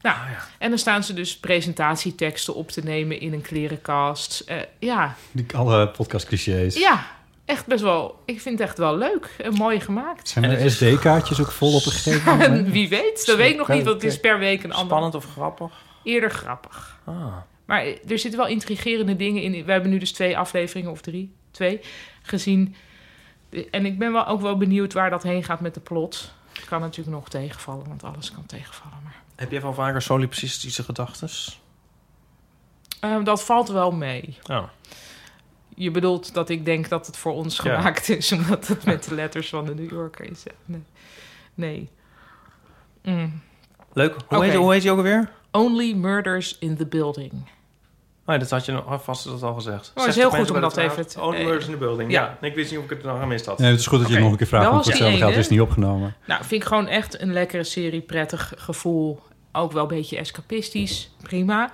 [SPEAKER 9] Nou, en dan staan ze dus presentatieteksten op te nemen in een klerenkast. Eh, ja,
[SPEAKER 10] Die, alle podcastclichés.
[SPEAKER 9] ja, echt best wel. Ik vind het echt wel leuk en mooi gemaakt.
[SPEAKER 10] Zijn er SD-kaartjes ook vol op een gegeven
[SPEAKER 9] En
[SPEAKER 10] moment?
[SPEAKER 9] wie weet, dat weet ik nog niet, want het is per week een ander.
[SPEAKER 8] Spannend of grappig?
[SPEAKER 9] Eerder grappig.
[SPEAKER 8] Ah.
[SPEAKER 9] Maar eh, er zitten wel intrigerende dingen in. We hebben nu dus twee afleveringen, of drie, twee, gezien. De- En ik ben wel ook wel benieuwd waar dat heen gaat met de plot. Het kan natuurlijk nog tegenvallen, want alles kan tegenvallen. Maar...
[SPEAKER 8] Heb jij van vaker solipsistische gedachten?
[SPEAKER 9] Ehm, dat valt wel mee.
[SPEAKER 8] Oh.
[SPEAKER 9] Je bedoelt dat ik denk dat het voor ons
[SPEAKER 8] Ja.
[SPEAKER 9] gemaakt is, omdat het met de letters van de New Yorker is. Nee. nee. Mm.
[SPEAKER 8] Leuk. Hoe,
[SPEAKER 9] Oké.
[SPEAKER 8] heet, hoe heet die ook alweer?
[SPEAKER 9] Only murders in the building.
[SPEAKER 8] Oh, ja, dat had je nog- vast dat al gezegd.
[SPEAKER 9] Maar het
[SPEAKER 8] 60
[SPEAKER 9] Oh, is heel goed
[SPEAKER 8] mensen
[SPEAKER 9] om
[SPEAKER 8] bij
[SPEAKER 9] dat
[SPEAKER 8] de
[SPEAKER 9] even
[SPEAKER 8] avond.
[SPEAKER 9] te-
[SPEAKER 8] Oh, the
[SPEAKER 9] eh,
[SPEAKER 8] Murders in the Building.
[SPEAKER 9] ja.
[SPEAKER 8] Ja. Ik wist niet of ik het nog gemist had.
[SPEAKER 10] Nee, het is goed dat je het nog een keer vraagt,
[SPEAKER 9] Dat
[SPEAKER 10] want
[SPEAKER 9] was
[SPEAKER 10] voor hetzelfde
[SPEAKER 9] die
[SPEAKER 10] geld is het
[SPEAKER 9] ene.
[SPEAKER 10] niet opgenomen.
[SPEAKER 9] Nou, vind ik gewoon echt een lekkere serie, prettig gevoel. Ook wel een beetje escapistisch, prima.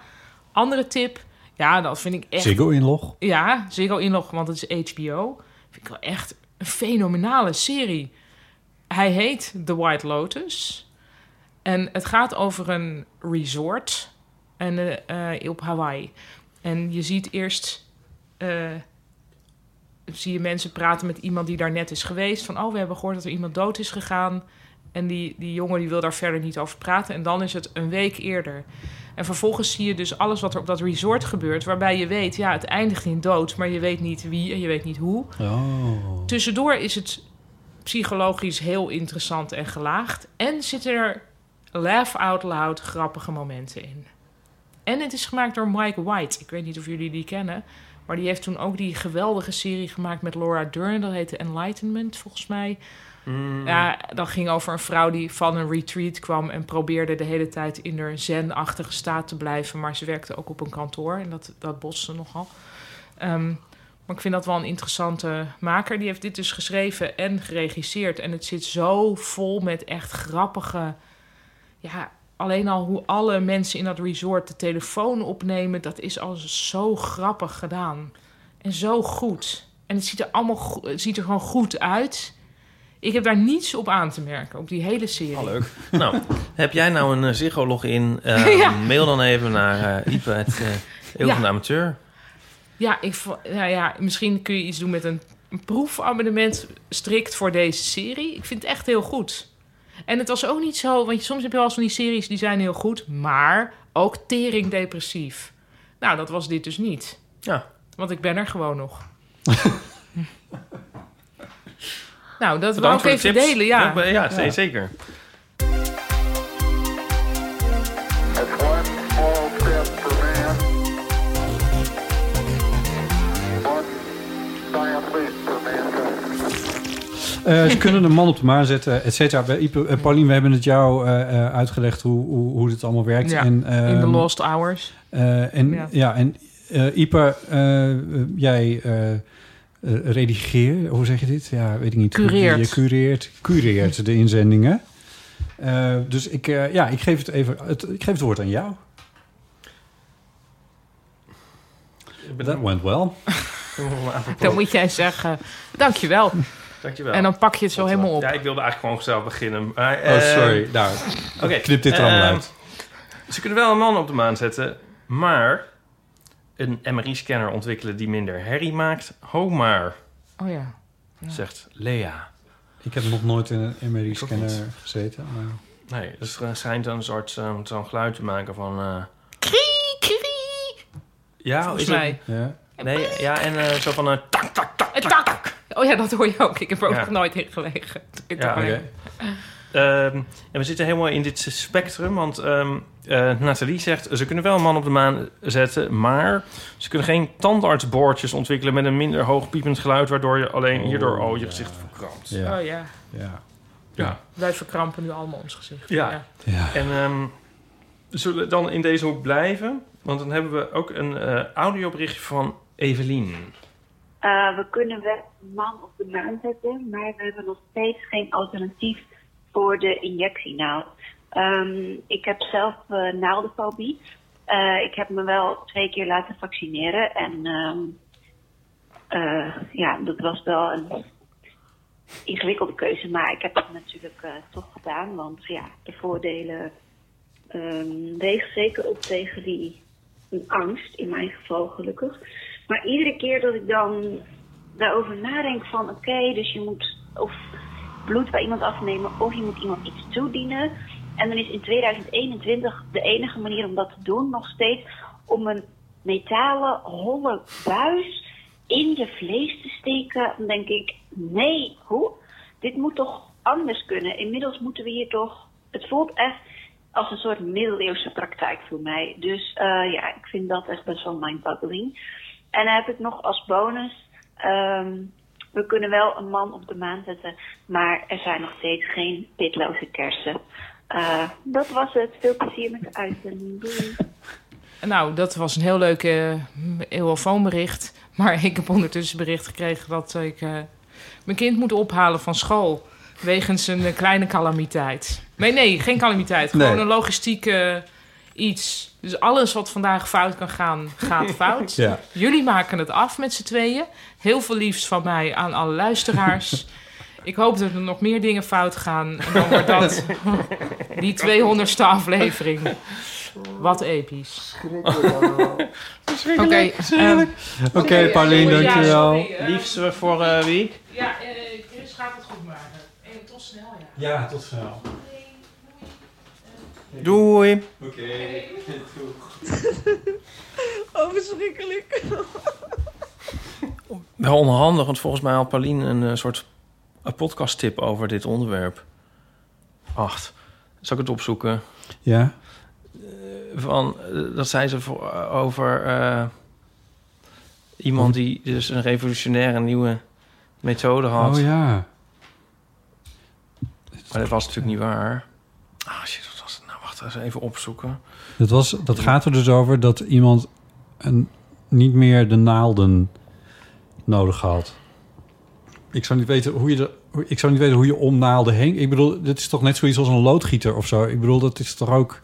[SPEAKER 9] Andere tip, ja, dat vind ik echt...
[SPEAKER 10] Ziggo-inlog?
[SPEAKER 9] Ja, Ziggo-inlog, want het is HBO. Vind ik wel echt een fenomenale serie. Hij heet The White Lotus. En het gaat over een resort en, eh, eh, op Hawaii. En je ziet eerst... eh, zie je mensen praten met iemand die daar net is geweest. Van, oh, we hebben gehoord dat er iemand dood is gegaan. En die, die jongen die wil daar verder niet over praten. En dan is het een week eerder. En vervolgens zie je dus alles wat er op dat resort gebeurt. Waarbij je weet, ja, het eindigt in dood. Maar je weet niet wie en je weet niet hoe.
[SPEAKER 10] Oh.
[SPEAKER 9] Tussendoor is het psychologisch heel interessant en gelaagd. En zitten er laugh out loud grappige momenten in. En het is gemaakt door Mike White. Ik weet niet of jullie die kennen. Maar die heeft toen ook die geweldige serie gemaakt met Laura Dern. Dat heette Enlightenment, volgens mij.
[SPEAKER 8] Mm.
[SPEAKER 9] Ja, dat ging over een vrouw die van een retreat kwam en probeerde de hele tijd in haar zen-achtige staat te blijven. Maar ze werkte ook op een kantoor en dat, dat botste nogal. Ehm, maar ik vind dat wel een interessante maker. Die heeft dit dus geschreven en geregisseerd. En het zit zo vol met echt grappige. Ja, alleen al hoe alle mensen in dat resort de telefoon opnemen, dat is al zo grappig gedaan. En zo goed. En het ziet er allemaal go- het ziet er gewoon goed uit. Ik heb daar niets op aan te merken, op die hele serie.
[SPEAKER 8] leuk. nou, heb jij nou een eh, Ziggo-login? Eh,
[SPEAKER 9] Ja.
[SPEAKER 8] Mail dan even naar eh Ipe, het eh, Eeuw van
[SPEAKER 9] Ja.
[SPEAKER 8] de Amateur.
[SPEAKER 9] Ja, ik, vo- nou ja, misschien kun je iets doen met een, een proefabonnement strikt voor deze serie. Ik vind het echt heel goed. En het was ook niet zo, want je- soms heb je wel eens van die series die zijn heel goed, maar ook tering depressief. Nou, dat was dit dus niet.
[SPEAKER 8] Ja.
[SPEAKER 9] Want ik ben er gewoon nog. nou, dat wil
[SPEAKER 8] Bedankt
[SPEAKER 9] ik
[SPEAKER 8] voor de
[SPEAKER 9] even
[SPEAKER 8] tips.
[SPEAKER 9] delen, ja.
[SPEAKER 8] Ja, be- ja, ze- zeker.
[SPEAKER 10] Eh, ze kunnen een man op de maan zetten, et cetera. Bij Ipe- eh, Paulien, we hebben het jou eh, eh, uitgelegd hoe, hoe, hoe dit allemaal werkt.
[SPEAKER 9] Ja,
[SPEAKER 10] en,
[SPEAKER 9] in de
[SPEAKER 10] ehm,
[SPEAKER 9] Lost Hours.
[SPEAKER 10] eh, en, ja.
[SPEAKER 9] Ja.
[SPEAKER 10] en eh Ipe, eh, eh, jij eh, eh, redigeer, hoe zeg je dit? Ja, weet ik niet.
[SPEAKER 9] Cureert.
[SPEAKER 10] Je cureert, cureert de inzendingen. Eh, dus ik, eh, ja, ik geef het even, het, ik geef het woord aan jou. That went well.
[SPEAKER 9] Dan moet jij zeggen, dankjewel.
[SPEAKER 8] Dankjewel.
[SPEAKER 9] En dan pak je het zo helemaal op.
[SPEAKER 8] Ja, ik wilde eigenlijk gewoon zelf beginnen. maar,
[SPEAKER 10] Oh,
[SPEAKER 8] eh,
[SPEAKER 10] sorry. Nou,
[SPEAKER 8] oké,
[SPEAKER 10] knip dit er allemaal
[SPEAKER 8] eh,
[SPEAKER 10] uit.
[SPEAKER 8] Ze kunnen wel een man op de maan zetten, maar een MRI-scanner ontwikkelen die minder herrie maakt. Ho maar,
[SPEAKER 9] Oh ja. Ja.
[SPEAKER 8] zegt Lea.
[SPEAKER 10] Ik heb nog nooit in een
[SPEAKER 8] Ik
[SPEAKER 10] MRI-scanner
[SPEAKER 8] ook niet.
[SPEAKER 10] gezeten. Maar...
[SPEAKER 8] Nee, dus er schijnt een soort eh, zo'n geluid te maken van... eh,
[SPEAKER 9] Krie, krie.
[SPEAKER 8] ja,
[SPEAKER 9] Volgens
[SPEAKER 8] is het-
[SPEAKER 9] mij.
[SPEAKER 10] Ja.
[SPEAKER 8] Nee, ja, en eh, zo van een tak, tak,
[SPEAKER 9] Eh, tak, tak. Oh ja, dat hoor je ook. Ik heb er ook
[SPEAKER 8] Ja.
[SPEAKER 9] nog nooit in gelegen.
[SPEAKER 8] Ja, oké. Ehm, en we zitten helemaal in dit spectrum, want ehm, eh, Nathalie zegt... ze kunnen wel een man op de maan zetten, maar ze kunnen geen tandartsboordjes ontwikkelen... met een minder hoog piepend geluid, waardoor je alleen hierdoor al je gezicht verkrampt.
[SPEAKER 10] Oh, Ja.
[SPEAKER 9] Oh ja.
[SPEAKER 10] Ja.
[SPEAKER 8] Ja.
[SPEAKER 9] Wij verkrampen nu allemaal ons gezicht.
[SPEAKER 8] Ja. En ehm, zullen we dan in deze hoek blijven? Want dan hebben we ook een eh audioberichtje van Evelien.
[SPEAKER 13] Eh, we kunnen wel een man op de maan zetten, maar we hebben nog steeds geen alternatief voor de injectienaald. Ehm, ik heb zelf eh, naaldenfobie. Eh, ik heb me wel twee keer laten vaccineren en ehm, eh, ja, dat was wel een ingewikkelde keuze, maar ik heb het natuurlijk eh, toch gedaan, want ja, de voordelen ehm wegen zeker op tegen die angst, in mijn geval gelukkig. Maar iedere keer dat ik dan daarover nadenk van oké, dus je moet of bloed bij iemand afnemen of je moet iemand iets toedienen. En dan is in 2021 de enige manier om dat te doen nog steeds om een metalen holle buis in je vlees te steken. Dan denk ik, nee, hoe? Dit moet toch anders kunnen? Inmiddels moeten we hier toch... Het voelt echt als een soort middeleeuwse praktijk voor mij. Dus eh, ja, ik vind dat echt best wel mindboggling. En dan heb ik nog als bonus. ehm, we kunnen wel een man op de maan zetten, maar er zijn nog steeds geen pitloze kersen. Eh, dat was het. Veel plezier met de uitzending. Doei.
[SPEAKER 9] Nou, dat was een heel leuk eh, eeuwofoonbericht. Maar ik heb ondertussen bericht gekregen dat ik eh, mijn kind moet ophalen van school. Wegens een eh, kleine calamiteit. Nee, nee, geen calamiteit. Gewoon
[SPEAKER 10] Nee.
[SPEAKER 9] een logistieke iets. Dus alles wat vandaag fout kan gaan, gaat fout.
[SPEAKER 10] Ja.
[SPEAKER 9] Jullie maken het af met z'n tweeën. Heel veel liefst van mij aan alle luisteraars. Ik hoop dat er nog meer dingen fout gaan. En dan wordt dat die 200ste aflevering. Wat episch. Oké,
[SPEAKER 8] Schrikkelijk, schrikkelijk.
[SPEAKER 9] ehm,
[SPEAKER 10] Oké, Paulien,
[SPEAKER 9] sorry, ja,
[SPEAKER 10] dankjewel.
[SPEAKER 9] sorry, eh.
[SPEAKER 8] Liefst eh, voor eh, wie?
[SPEAKER 9] Ja, eh, Chris gaat het goed maken. En tot snel, ja.
[SPEAKER 10] Ja, tot snel.
[SPEAKER 8] Doei.
[SPEAKER 10] Oké,
[SPEAKER 5] Oh, verschrikkelijk.
[SPEAKER 8] Wel onhandig, want volgens mij had Paulien een eh, soort een podcasttip over dit onderwerp. Acht. Zal ik het opzoeken? Eh,
[SPEAKER 10] Ja.
[SPEAKER 8] Van, eh, dat zei ze voor, over eh, iemand die dus een revolutionaire nieuwe methode had.
[SPEAKER 10] Oh ja.
[SPEAKER 8] Maar dat was natuurlijk niet waar. Ah shit, wat was het nou? Wacht, eens even opzoeken.
[SPEAKER 10] Dat, was, dat gaat er dus over dat iemand een, niet meer de naalden nodig had. Ik zou niet weten hoe je, de, hoe- ik zou niet weten hoe je om naalden heen... Ik bedoel, dit is toch net zoiets als een loodgieter of zo? Ik bedoel, dat is toch ook...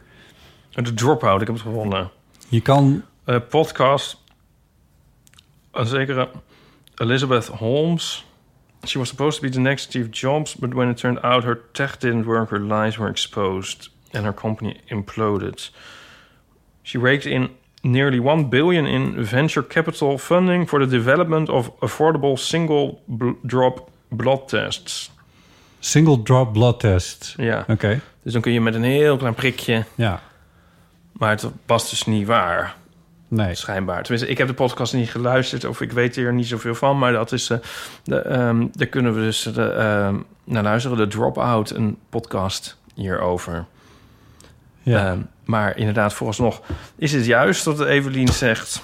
[SPEAKER 8] De Dropout, ik heb het gevonden.
[SPEAKER 10] Je kan...
[SPEAKER 8] Eh, podcast. Een zekere Elizabeth Holmes. She was supposed to be the next Steve Jobs, but when it turned out her tech didn't work, her lies were exposed, and her company imploded. She raked in nearly 1 billion in venture capital funding for the development of affordable single bl- drop blood tests.
[SPEAKER 10] Single drop blood test.
[SPEAKER 8] Ja.
[SPEAKER 10] Oké.
[SPEAKER 8] Dus dan kun je met een heel klein prikje.
[SPEAKER 10] Ja.
[SPEAKER 8] Maar het was dus niet waar.
[SPEAKER 10] Nee.
[SPEAKER 8] Schijnbaar. Tenminste, ik heb de podcast niet geluisterd of ik weet er niet zoveel van. Maar dat is. eh, de, ehm, daar kunnen we dus de, ehm, naar luisteren. De Dropout, een podcast hierover.
[SPEAKER 10] Ja.
[SPEAKER 8] Ehm, maar inderdaad, vooralsnog is het juist wat Evelien zegt.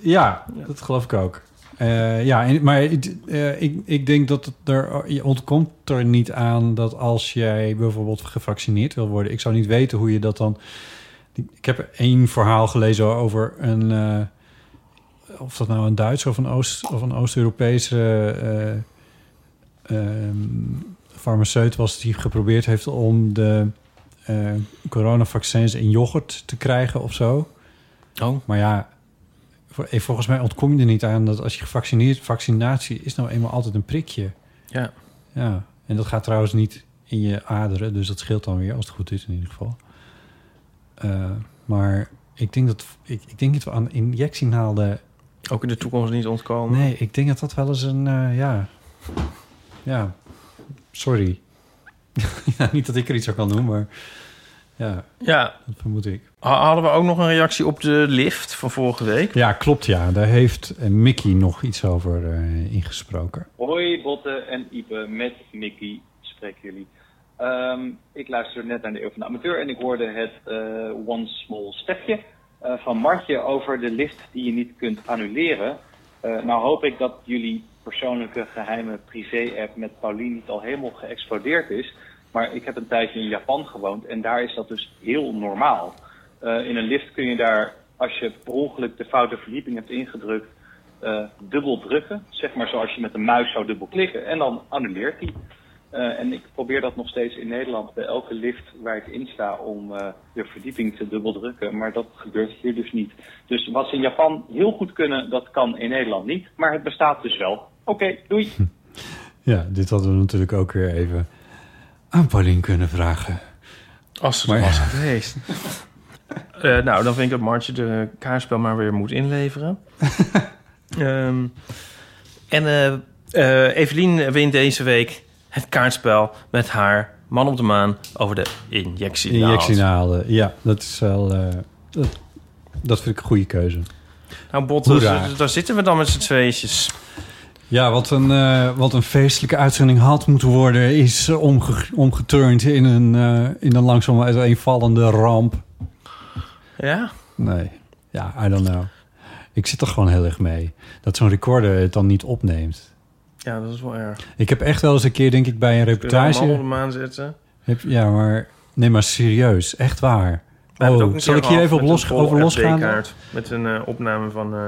[SPEAKER 10] Ja, dat geloof ik ook. Eh, ja, en- maar het- eh, ik, ik denk dat het er, je ontkomt er niet aan dat als jij bijvoorbeeld gevaccineerd wil worden, ik zou niet weten hoe je dat dan. Ik heb één verhaal gelezen over een. eh, of dat nou een Duits of een, Oost, of een Oost-Europese eh, ehm, farmaceut was die geprobeerd heeft om de eh, coronavaccins in yoghurt te krijgen of zo.
[SPEAKER 8] Oh.
[SPEAKER 10] Maar ja, Vol- eh, Volgens mij ontkom je er niet aan dat als je gevaccineerd... vaccinatie is nou eenmaal altijd een prikje.
[SPEAKER 8] Ja.
[SPEAKER 10] Ja, en dat gaat trouwens niet in je aderen, dus dat scheelt dan weer als het goed is in ieder geval. Eh, maar ik denk dat ik, ik denk dat we aan injectienaalden.
[SPEAKER 8] Ook in de toekomst niet ontkomen.
[SPEAKER 10] Nee, ik denk dat dat wel eens een eh, ja, ja, sorry. ja, niet dat ik er iets aan kan doen, maar Ja,
[SPEAKER 8] Ja.
[SPEAKER 10] dat vermoed ik.
[SPEAKER 8] Ha- Hadden we ook nog een reactie op de lift van vorige week?
[SPEAKER 10] Ja, klopt ja. Daar heeft eh, Mickey nog iets over eh, ingesproken.
[SPEAKER 14] Hoi Botte en Ipe, met Mickey spreken jullie. Ehm, ik luisterde net naar de Eeuw van de Amateur en ik hoorde het eh, One Small Stepje eh, van Martje over de lift die je niet kunt annuleren. Eh, nou hoop ik dat jullie persoonlijke geheime privé-app met Paulien niet al helemaal geëxplodeerd is. Maar ik heb een tijdje in Japan gewoond en daar is dat dus heel normaal. Eh, in een lift kun je daar, als je per ongeluk de foute verdieping hebt ingedrukt, eh, dubbel drukken. Zeg maar zoals je met de muis zou dubbel klikken. En dan annuleert hij. Eh, en ik probeer dat nog steeds in Nederland bij elke lift waar ik insta om eh, de verdieping te dubbel drukken. Maar dat gebeurt hier dus niet. Dus wat ze in Japan heel goed kunnen, dat kan in Nederland niet. Maar het bestaat dus wel. Oké, doei.
[SPEAKER 10] Ja, dit hadden we natuurlijk ook weer even aan Paulien kunnen vragen.
[SPEAKER 8] Als het
[SPEAKER 10] Maar-
[SPEAKER 8] was geweest. Eh, nou, dan vind ik dat Martje de kaarspel maar weer moet inleveren. Ehm, en eh, eh, Evelien wint deze week het kaartspel met haar man op de maan over de injectienaald.
[SPEAKER 10] Injectienaalden. Ja, dat is wel... eh, dat, dat vind ik een goede keuze.
[SPEAKER 8] Nou, Botte,
[SPEAKER 10] Hoera.
[SPEAKER 8] daar zitten we dan met z'n tweetjes.
[SPEAKER 10] Ja, wat een, eh, wat een feestelijke uitzending had moeten worden... is eh, omge omgeturnd in een, eh, in een langzaam uiteenvallende ramp.
[SPEAKER 8] Ja?
[SPEAKER 10] Nee. Ja, I don't know. Ik zit er gewoon heel erg mee. Dat zo'n recorder het dan niet opneemt.
[SPEAKER 8] Ja, dat is wel erg.
[SPEAKER 10] Ik heb echt wel eens een keer, denk ik, bij een
[SPEAKER 8] Kun je daar een man op de
[SPEAKER 10] reportage...
[SPEAKER 8] maan zetten?
[SPEAKER 10] Heb, ja, maar... Nee, maar serieus. Echt waar.
[SPEAKER 8] We hebben het ook
[SPEAKER 10] Oh,
[SPEAKER 8] een
[SPEAKER 10] zal
[SPEAKER 8] keer
[SPEAKER 10] ik hier
[SPEAKER 8] gehad
[SPEAKER 10] even op
[SPEAKER 8] met
[SPEAKER 10] los,
[SPEAKER 8] een volle
[SPEAKER 10] over losgaan?
[SPEAKER 8] SD-kaart Met een eh, opname van... eh,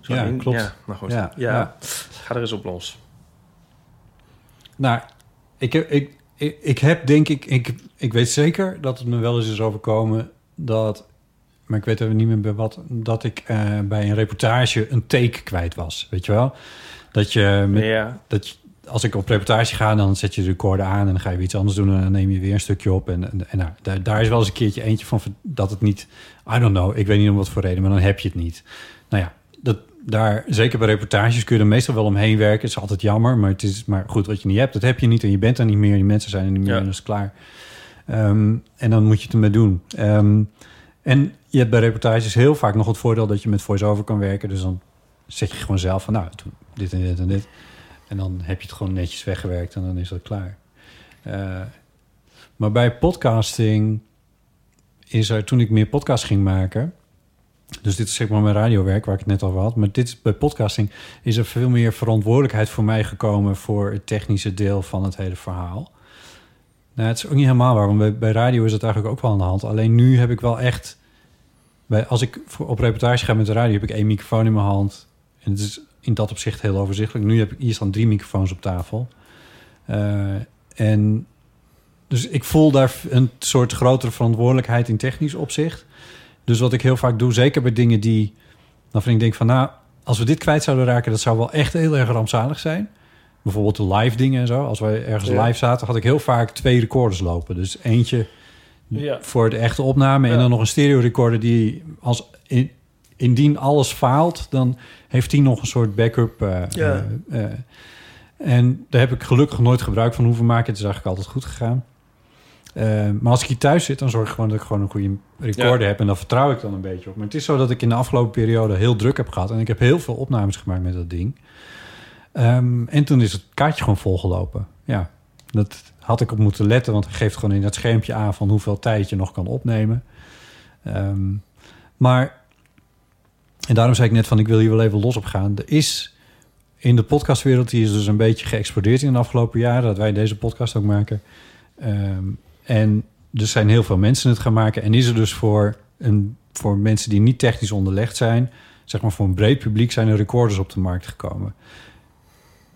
[SPEAKER 8] zo'n
[SPEAKER 10] Ja,
[SPEAKER 8] in-
[SPEAKER 10] klopt.
[SPEAKER 8] Ja, nou goed.
[SPEAKER 10] Ja,
[SPEAKER 8] Ja.
[SPEAKER 10] ja.
[SPEAKER 8] Ga er eens op los.
[SPEAKER 10] Nou, ik heb, ik, ik, ik heb denk ik, ik... Ik weet zeker dat het me wel eens is overkomen dat... Maar ik weet even niet meer bij wat... Dat ik eh, bij een reportage een take kwijt was. Weet je wel? Dat je... Met,
[SPEAKER 8] Ja.
[SPEAKER 10] dat je- als ik op reportage ga, dan zet je de recorder aan... en dan ga je weer iets anders doen en dan neem je weer een stukje op. En, en, en nou, daar, daar is wel eens een keertje eentje van ver- dat het niet... I don't know, ik weet niet om wat voor reden, maar dan heb je het niet. Nou ja, dat, daar, zeker bij reportages kun je er meestal wel omheen werken. Het is altijd jammer, maar, het is, maar goed, wat je niet hebt, dat heb je niet... en je bent er niet meer, die mensen zijn er niet meer en dat is klaar. Ehm, en dan moet je het ermee doen. Ehm, en je hebt bij reportages heel vaak nog het voordeel... dat je met voice-over kan werken, dus dan zet je gewoon zelf van... nou, toen dit en dit en dit... En dan heb je het gewoon netjes weggewerkt en dan is dat klaar. Eh, maar bij podcasting is er, toen ik meer podcast ging maken... Dus dit is zeg maar mijn radiowerk waar ik het net over had. Maar dit is, bij podcasting is er veel meer verantwoordelijkheid voor mij gekomen... voor het technische deel van het hele verhaal. Nou, het is ook niet helemaal waar, want bij, bij radio is dat eigenlijk ook wel aan de hand. Alleen nu heb ik wel echt... Bij, als ik voor- op reportage ga met de radio, heb ik één microfoon in mijn hand. En het is in dat opzicht heel overzichtelijk. Nu heb ik hier staan drie microfoons op tafel. Eh, en dus ik voel daar een soort grotere verantwoordelijkheid in technisch opzicht. Dus wat ik heel vaak doe, zeker bij dingen die... Dan vind ik denk van, nou, als we dit kwijt zouden raken... dat zou wel echt heel erg rampzalig zijn. Bijvoorbeeld de live dingen en zo. Als wij ergens
[SPEAKER 8] Ja.
[SPEAKER 10] live zaten, had ik heel vaak twee recorders lopen. Dus eentje
[SPEAKER 8] Ja.
[SPEAKER 10] voor de echte opname. En dan nog een stereo recorder die als in, indien alles faalt, dan heeft die nog een soort backup. eh,
[SPEAKER 8] Ja.
[SPEAKER 10] eh, eh. en daar heb ik gelukkig nooit gebruik van hoeven maken. Het is eigenlijk altijd goed gegaan. Eh, maar als ik hier thuis zit, dan zorg ik gewoon dat ik gewoon een goede recorder
[SPEAKER 8] Ja.
[SPEAKER 10] heb. En daar vertrouw ik dan een beetje op. Maar het is zo dat ik in de afgelopen periode heel druk heb gehad. En ik heb heel veel opnames gemaakt met dat ding. Ehm, en toen is het kaartje gewoon volgelopen. Ja, dat had ik op moeten letten, want het geeft gewoon in dat schermpje aan van hoeveel tijd je nog kan opnemen. Ehm, maar, en daarom zei ik net van ik wil hier wel even los op gaan. Er is in de podcastwereld, die is dus een beetje geëxplodeerd in de afgelopen jaren, dat wij deze podcast ook maken. Ehm, en er zijn heel veel mensen het gaan maken. En is er dus voor, een, voor mensen die niet technisch onderlegd zijn, zeg maar voor een breed publiek, zijn er recorders op de markt gekomen.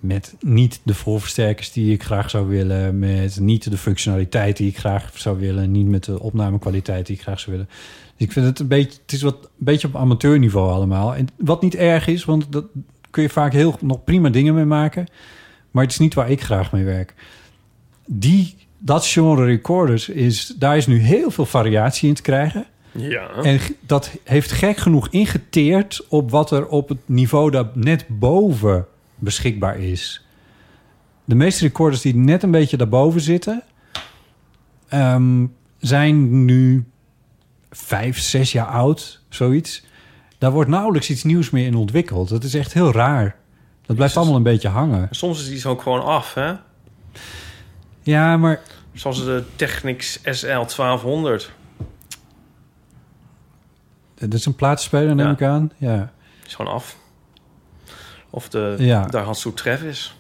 [SPEAKER 10] Met niet de voorversterkers die ik graag zou willen. Met niet de functionaliteit die ik graag zou willen. Niet met de opnamekwaliteit die ik graag zou willen. Dus ik vind het een beetje, het is wat, een beetje op amateurniveau allemaal. En wat niet erg is, want dat kun je vaak heel nog prima dingen mee maken. Maar het is niet waar ik graag mee werk. Die, dat genre recorders, is, daar is nu heel veel variatie in te krijgen.
[SPEAKER 8] Ja.
[SPEAKER 10] En g- dat heeft gek genoeg ingeteerd op wat er op het niveau daar net boven beschikbaar is. De meeste recorders die net een beetje daarboven zitten, ehm, zijn nu vijf, zes jaar oud, zoiets. Daar wordt nauwelijks iets nieuws meer in ontwikkeld. Dat is echt heel raar. Dat blijft allemaal een beetje hangen.
[SPEAKER 8] Soms is iets ook gewoon af, hè?
[SPEAKER 10] Ja, maar
[SPEAKER 8] Zoals de Technics SL 1200.
[SPEAKER 10] dat is een plaatsspeler, neem ik aan. Ja.
[SPEAKER 8] Is gewoon af. Of de
[SPEAKER 10] Ja.
[SPEAKER 8] daar Hatsu Travis.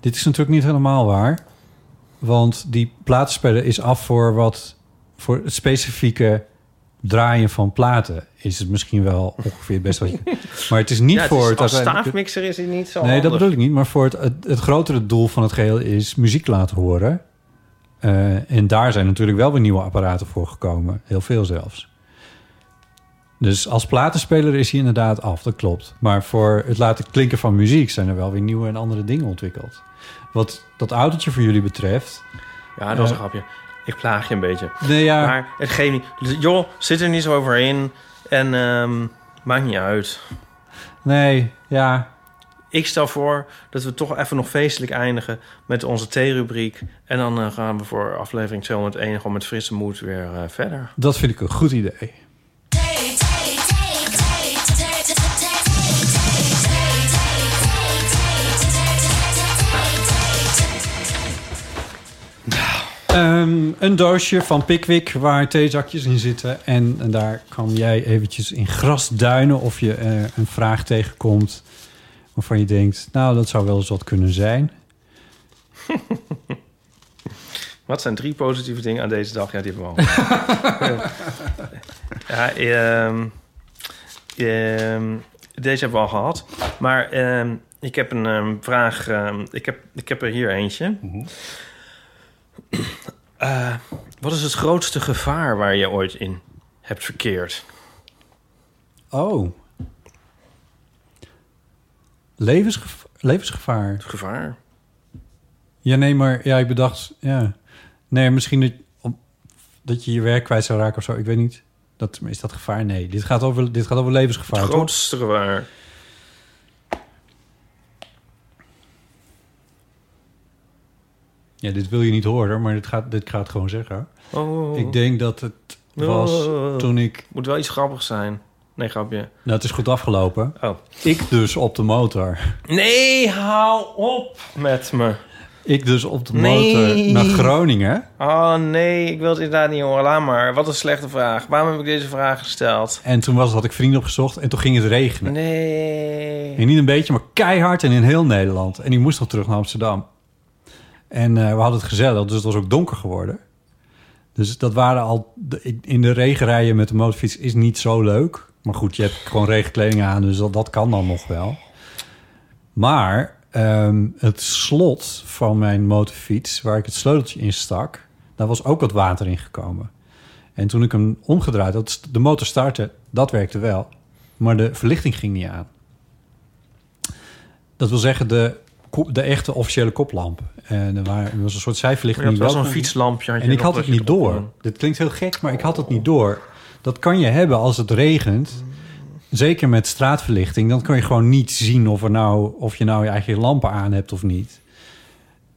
[SPEAKER 10] Dit is natuurlijk niet helemaal waar. Want die plaatsspeler is af voor wat... voor het specifieke draaien van platen... is het misschien wel ongeveer best wat je... Maar het is niet
[SPEAKER 8] Ja, het
[SPEAKER 10] voor...
[SPEAKER 8] is-
[SPEAKER 10] het
[SPEAKER 8] als
[SPEAKER 10] uiteindelijk-
[SPEAKER 8] staafmixer is het niet zo
[SPEAKER 10] Nee, dat
[SPEAKER 8] handig.
[SPEAKER 10] bedoel ik niet. Maar voor het, het, het grotere doel van het geheel is muziek laten horen. Eh, en daar zijn natuurlijk wel weer nieuwe apparaten voor gekomen. Heel veel zelfs. Dus als platenspeler is hij inderdaad af, dat klopt. Maar voor het laten klinken van muziek zijn er wel weer nieuwe en andere dingen ontwikkeld. Wat dat autootje voor jullie betreft.
[SPEAKER 8] Ja, dat was
[SPEAKER 10] eh,
[SPEAKER 8] een grapje. Ik plaag je een beetje.
[SPEAKER 10] Nee, ja.
[SPEAKER 8] Maar het geeft niet... dus, Joh, zit er niet zo overheen. En ehm, maakt niet uit.
[SPEAKER 10] Nee, ja.
[SPEAKER 8] Ik stel voor dat we toch even nog feestelijk eindigen met onze theerubriek. En dan eh, gaan we voor aflevering 201 gewoon met frisse moed weer eh, verder.
[SPEAKER 10] Dat vind ik een goed idee. Ehm, een doosje van Pickwick waar theezakjes in zitten. En, en daar kan jij eventjes in gras duinen of je eh, een vraag tegenkomt... waarvan je denkt, nou, dat zou wel eens wat kunnen zijn.
[SPEAKER 8] Wat zijn drie positieve dingen aan deze dag? Ja, die hebben we al. ja, ehm, ehm, deze hebben we al gehad. Maar ehm, ik heb een ehm, vraag. ehm, ik, heb, ik heb er hier eentje.
[SPEAKER 10] Mhm.
[SPEAKER 8] Eh, wat is het grootste gevaar waar je ooit in hebt verkeerd?
[SPEAKER 10] Oh. Levensgev- levensgevaar.
[SPEAKER 8] Gevaar.
[SPEAKER 10] Ja, nee, maar ja, ik bedacht... Ja. Nee, misschien dat, om- dat je je werk kwijt zou raken of zo. Ik weet niet. Dat, is dat gevaar? Nee. Dit gaat over, dit gaat over levensgevaar,
[SPEAKER 8] Het
[SPEAKER 10] toch?
[SPEAKER 8] grootste gevaar.
[SPEAKER 10] Ja, dit wil je niet horen, maar dit, gaat, dit gaat gewoon zeggen.
[SPEAKER 8] Oh.
[SPEAKER 10] Ik denk dat het was
[SPEAKER 8] Oh.
[SPEAKER 10] toen ik...
[SPEAKER 8] Moet wel iets grappigs zijn. Nee, grapje.
[SPEAKER 10] Nou, het is goed afgelopen.
[SPEAKER 8] Oh.
[SPEAKER 10] Ik dus op de motor.
[SPEAKER 8] Nee, hou op met me.
[SPEAKER 10] Ik dus op de motor
[SPEAKER 8] Nee.
[SPEAKER 10] naar Groningen.
[SPEAKER 8] Oh nee, ik wil het inderdaad niet horen. Laat maar. Wat een slechte vraag. Waarom heb ik deze vraag gesteld?
[SPEAKER 10] En toen was, het- had ik vrienden opgezocht en toen ging het regenen.
[SPEAKER 8] Nee.
[SPEAKER 10] En niet een beetje, maar keihard en in heel Nederland. En ik moest nog terug naar Amsterdam. En eh, we hadden het gezellig, dus het was ook donker geworden. Dus dat waren al... de- in- In de regen rijden met de motorfiets is niet zo leuk. Maar goed, je hebt gewoon regenkleding aan, dus dat, dat kan dan nog wel. Maar ehm, het slot van mijn motorfiets, waar ik het sleuteltje in stak... daar was ook wat water in gekomen. En toen ik hem omgedraaid had, de motor startte, dat werkte wel. Maar de verlichting ging niet aan. Dat wil zeggen, de, ko- de echte officiële koplamp. En er waren- er was een soort zijverlichting.
[SPEAKER 8] Ja, het
[SPEAKER 10] die
[SPEAKER 8] was
[SPEAKER 10] wel
[SPEAKER 8] zo'n
[SPEAKER 10] kon-
[SPEAKER 8] fietslampje, had je
[SPEAKER 10] En ik
[SPEAKER 8] nog
[SPEAKER 10] had
[SPEAKER 8] dat
[SPEAKER 10] het
[SPEAKER 8] je
[SPEAKER 10] niet
[SPEAKER 8] erop
[SPEAKER 10] door.
[SPEAKER 8] kon.
[SPEAKER 10] Dit klinkt heel gek, maar ik had het niet door. Dat kan je hebben als het regent. Zeker met straatverlichting. Dan kan je gewoon niet zien of, er nou, of je nou je eigen lampen aan hebt of niet.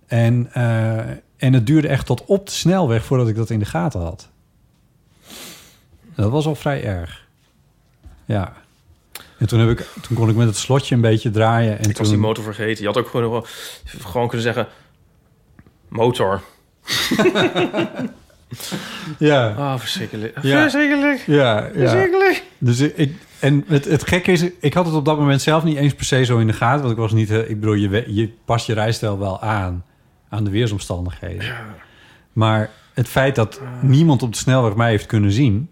[SPEAKER 10] En, eh, en het duurde echt tot op de snelweg voordat ik dat in de gaten had. Dat was al vrij erg. Ja. En toen, heb ik, toen kon ik met het slotje een beetje draaien. En
[SPEAKER 8] ik was
[SPEAKER 10] toen-
[SPEAKER 8] die motor vergeten. Je had ook gewoon, gewoon kunnen zeggen... Motor.
[SPEAKER 10] Ja.
[SPEAKER 8] Oh, verschrikkelijk.
[SPEAKER 10] Ja.
[SPEAKER 8] Verschrikkelijk.
[SPEAKER 10] Ja, ja.
[SPEAKER 8] Verschrikkelijk.
[SPEAKER 10] Dus ik, ik- en het, het gekke is, ik had het op dat moment zelf niet eens per se zo in de gaten. Want ik was niet, eh, ik bedoel, je, we- je past je rijstijl wel aan, aan de weersomstandigheden. Maar het feit dat niemand op de snelweg mij heeft kunnen zien.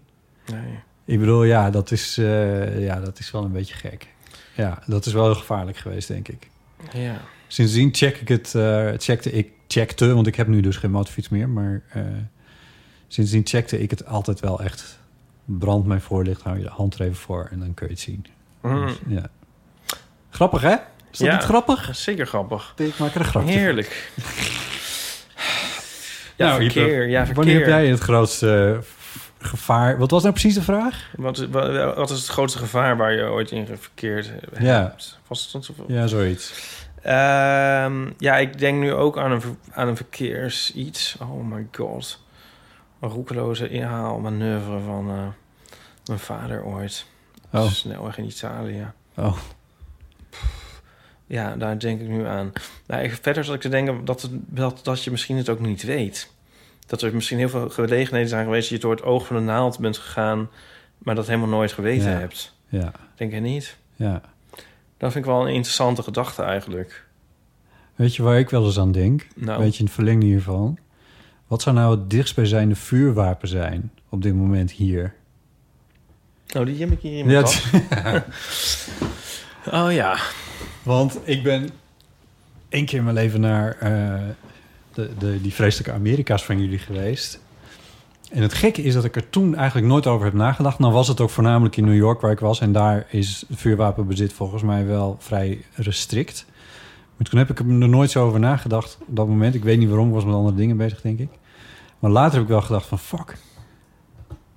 [SPEAKER 8] Nee.
[SPEAKER 10] Ik bedoel, ja, dat is, eh, ja, dat is wel een beetje gek. Ja, dat is wel heel gevaarlijk geweest, denk ik.
[SPEAKER 8] Ja.
[SPEAKER 10] Sindsdien check ik het, eh, checkte ik, checkte, want ik heb nu dus geen motorfiets meer, maar eh, sindsdien checkte ik het altijd wel echt. Brand mijn voorlicht, hou je de hand er even voor en dan kun je het zien.
[SPEAKER 8] Mm.
[SPEAKER 10] Dus, ja. Grappig, hè? Is dat
[SPEAKER 8] Ja,
[SPEAKER 10] niet grappig?
[SPEAKER 8] Zeker grappig.
[SPEAKER 10] Ik maak er een grapje van.
[SPEAKER 8] Heerlijk. ja,
[SPEAKER 10] Nou, Ipe,
[SPEAKER 8] verkeer. Ja, verkeer.
[SPEAKER 10] Wanneer heb jij het grootste eh, gevaar... Wat was nou precies de vraag?
[SPEAKER 8] Wat, is- eh, wa- wat is het grootste gevaar waar je ooit in verkeerd hebt?
[SPEAKER 10] Ja.
[SPEAKER 8] Was het dan zoveel?
[SPEAKER 10] Ja, zoiets.
[SPEAKER 8] Ehm, ja, ik denk nu ook aan een, ver- aan een verkeers iets. Oh my god. roekeloze inhaalmanoeuvre van eh, mijn vader ooit.
[SPEAKER 10] Oh.
[SPEAKER 8] Snelweg in Italië.
[SPEAKER 10] Oh.
[SPEAKER 8] Ja, daar denk ik nu aan. Nou, ik- verder zat ik te denken dat, het- dat, dat je misschien het ook niet weet. Dat er misschien heel veel gelegenheden zijn geweest... dat je door het oog van de naald bent gegaan... maar dat helemaal nooit geweten
[SPEAKER 10] Ja.
[SPEAKER 8] hebt.
[SPEAKER 10] Ja.
[SPEAKER 8] Denk je niet?
[SPEAKER 10] Ja.
[SPEAKER 8] Dat vind ik wel een interessante gedachte eigenlijk.
[SPEAKER 10] Weet je waar ik wel eens aan denk?
[SPEAKER 8] Nou.
[SPEAKER 10] Weet je, in het verlengde hiervan. Wat zou nou het dichtstbijzijnde vuurwapen zijn op dit moment hier?
[SPEAKER 8] Nou, die heb ik hier in mijn tas. oh ja.
[SPEAKER 10] Want ik ben één keer in mijn leven naar eh, de, de, die vreselijke Amerika's van jullie geweest. En het gekke is dat ik er toen eigenlijk nooit over heb nagedacht. Nou was het ook voornamelijk in New York waar ik was. En daar is vuurwapenbezit volgens mij wel vrij restrict. Maar toen heb ik er nooit zo over nagedacht op dat moment. Ik weet niet waarom, ik was met andere dingen bezig, denk ik. Maar later heb ik wel gedacht van fuck.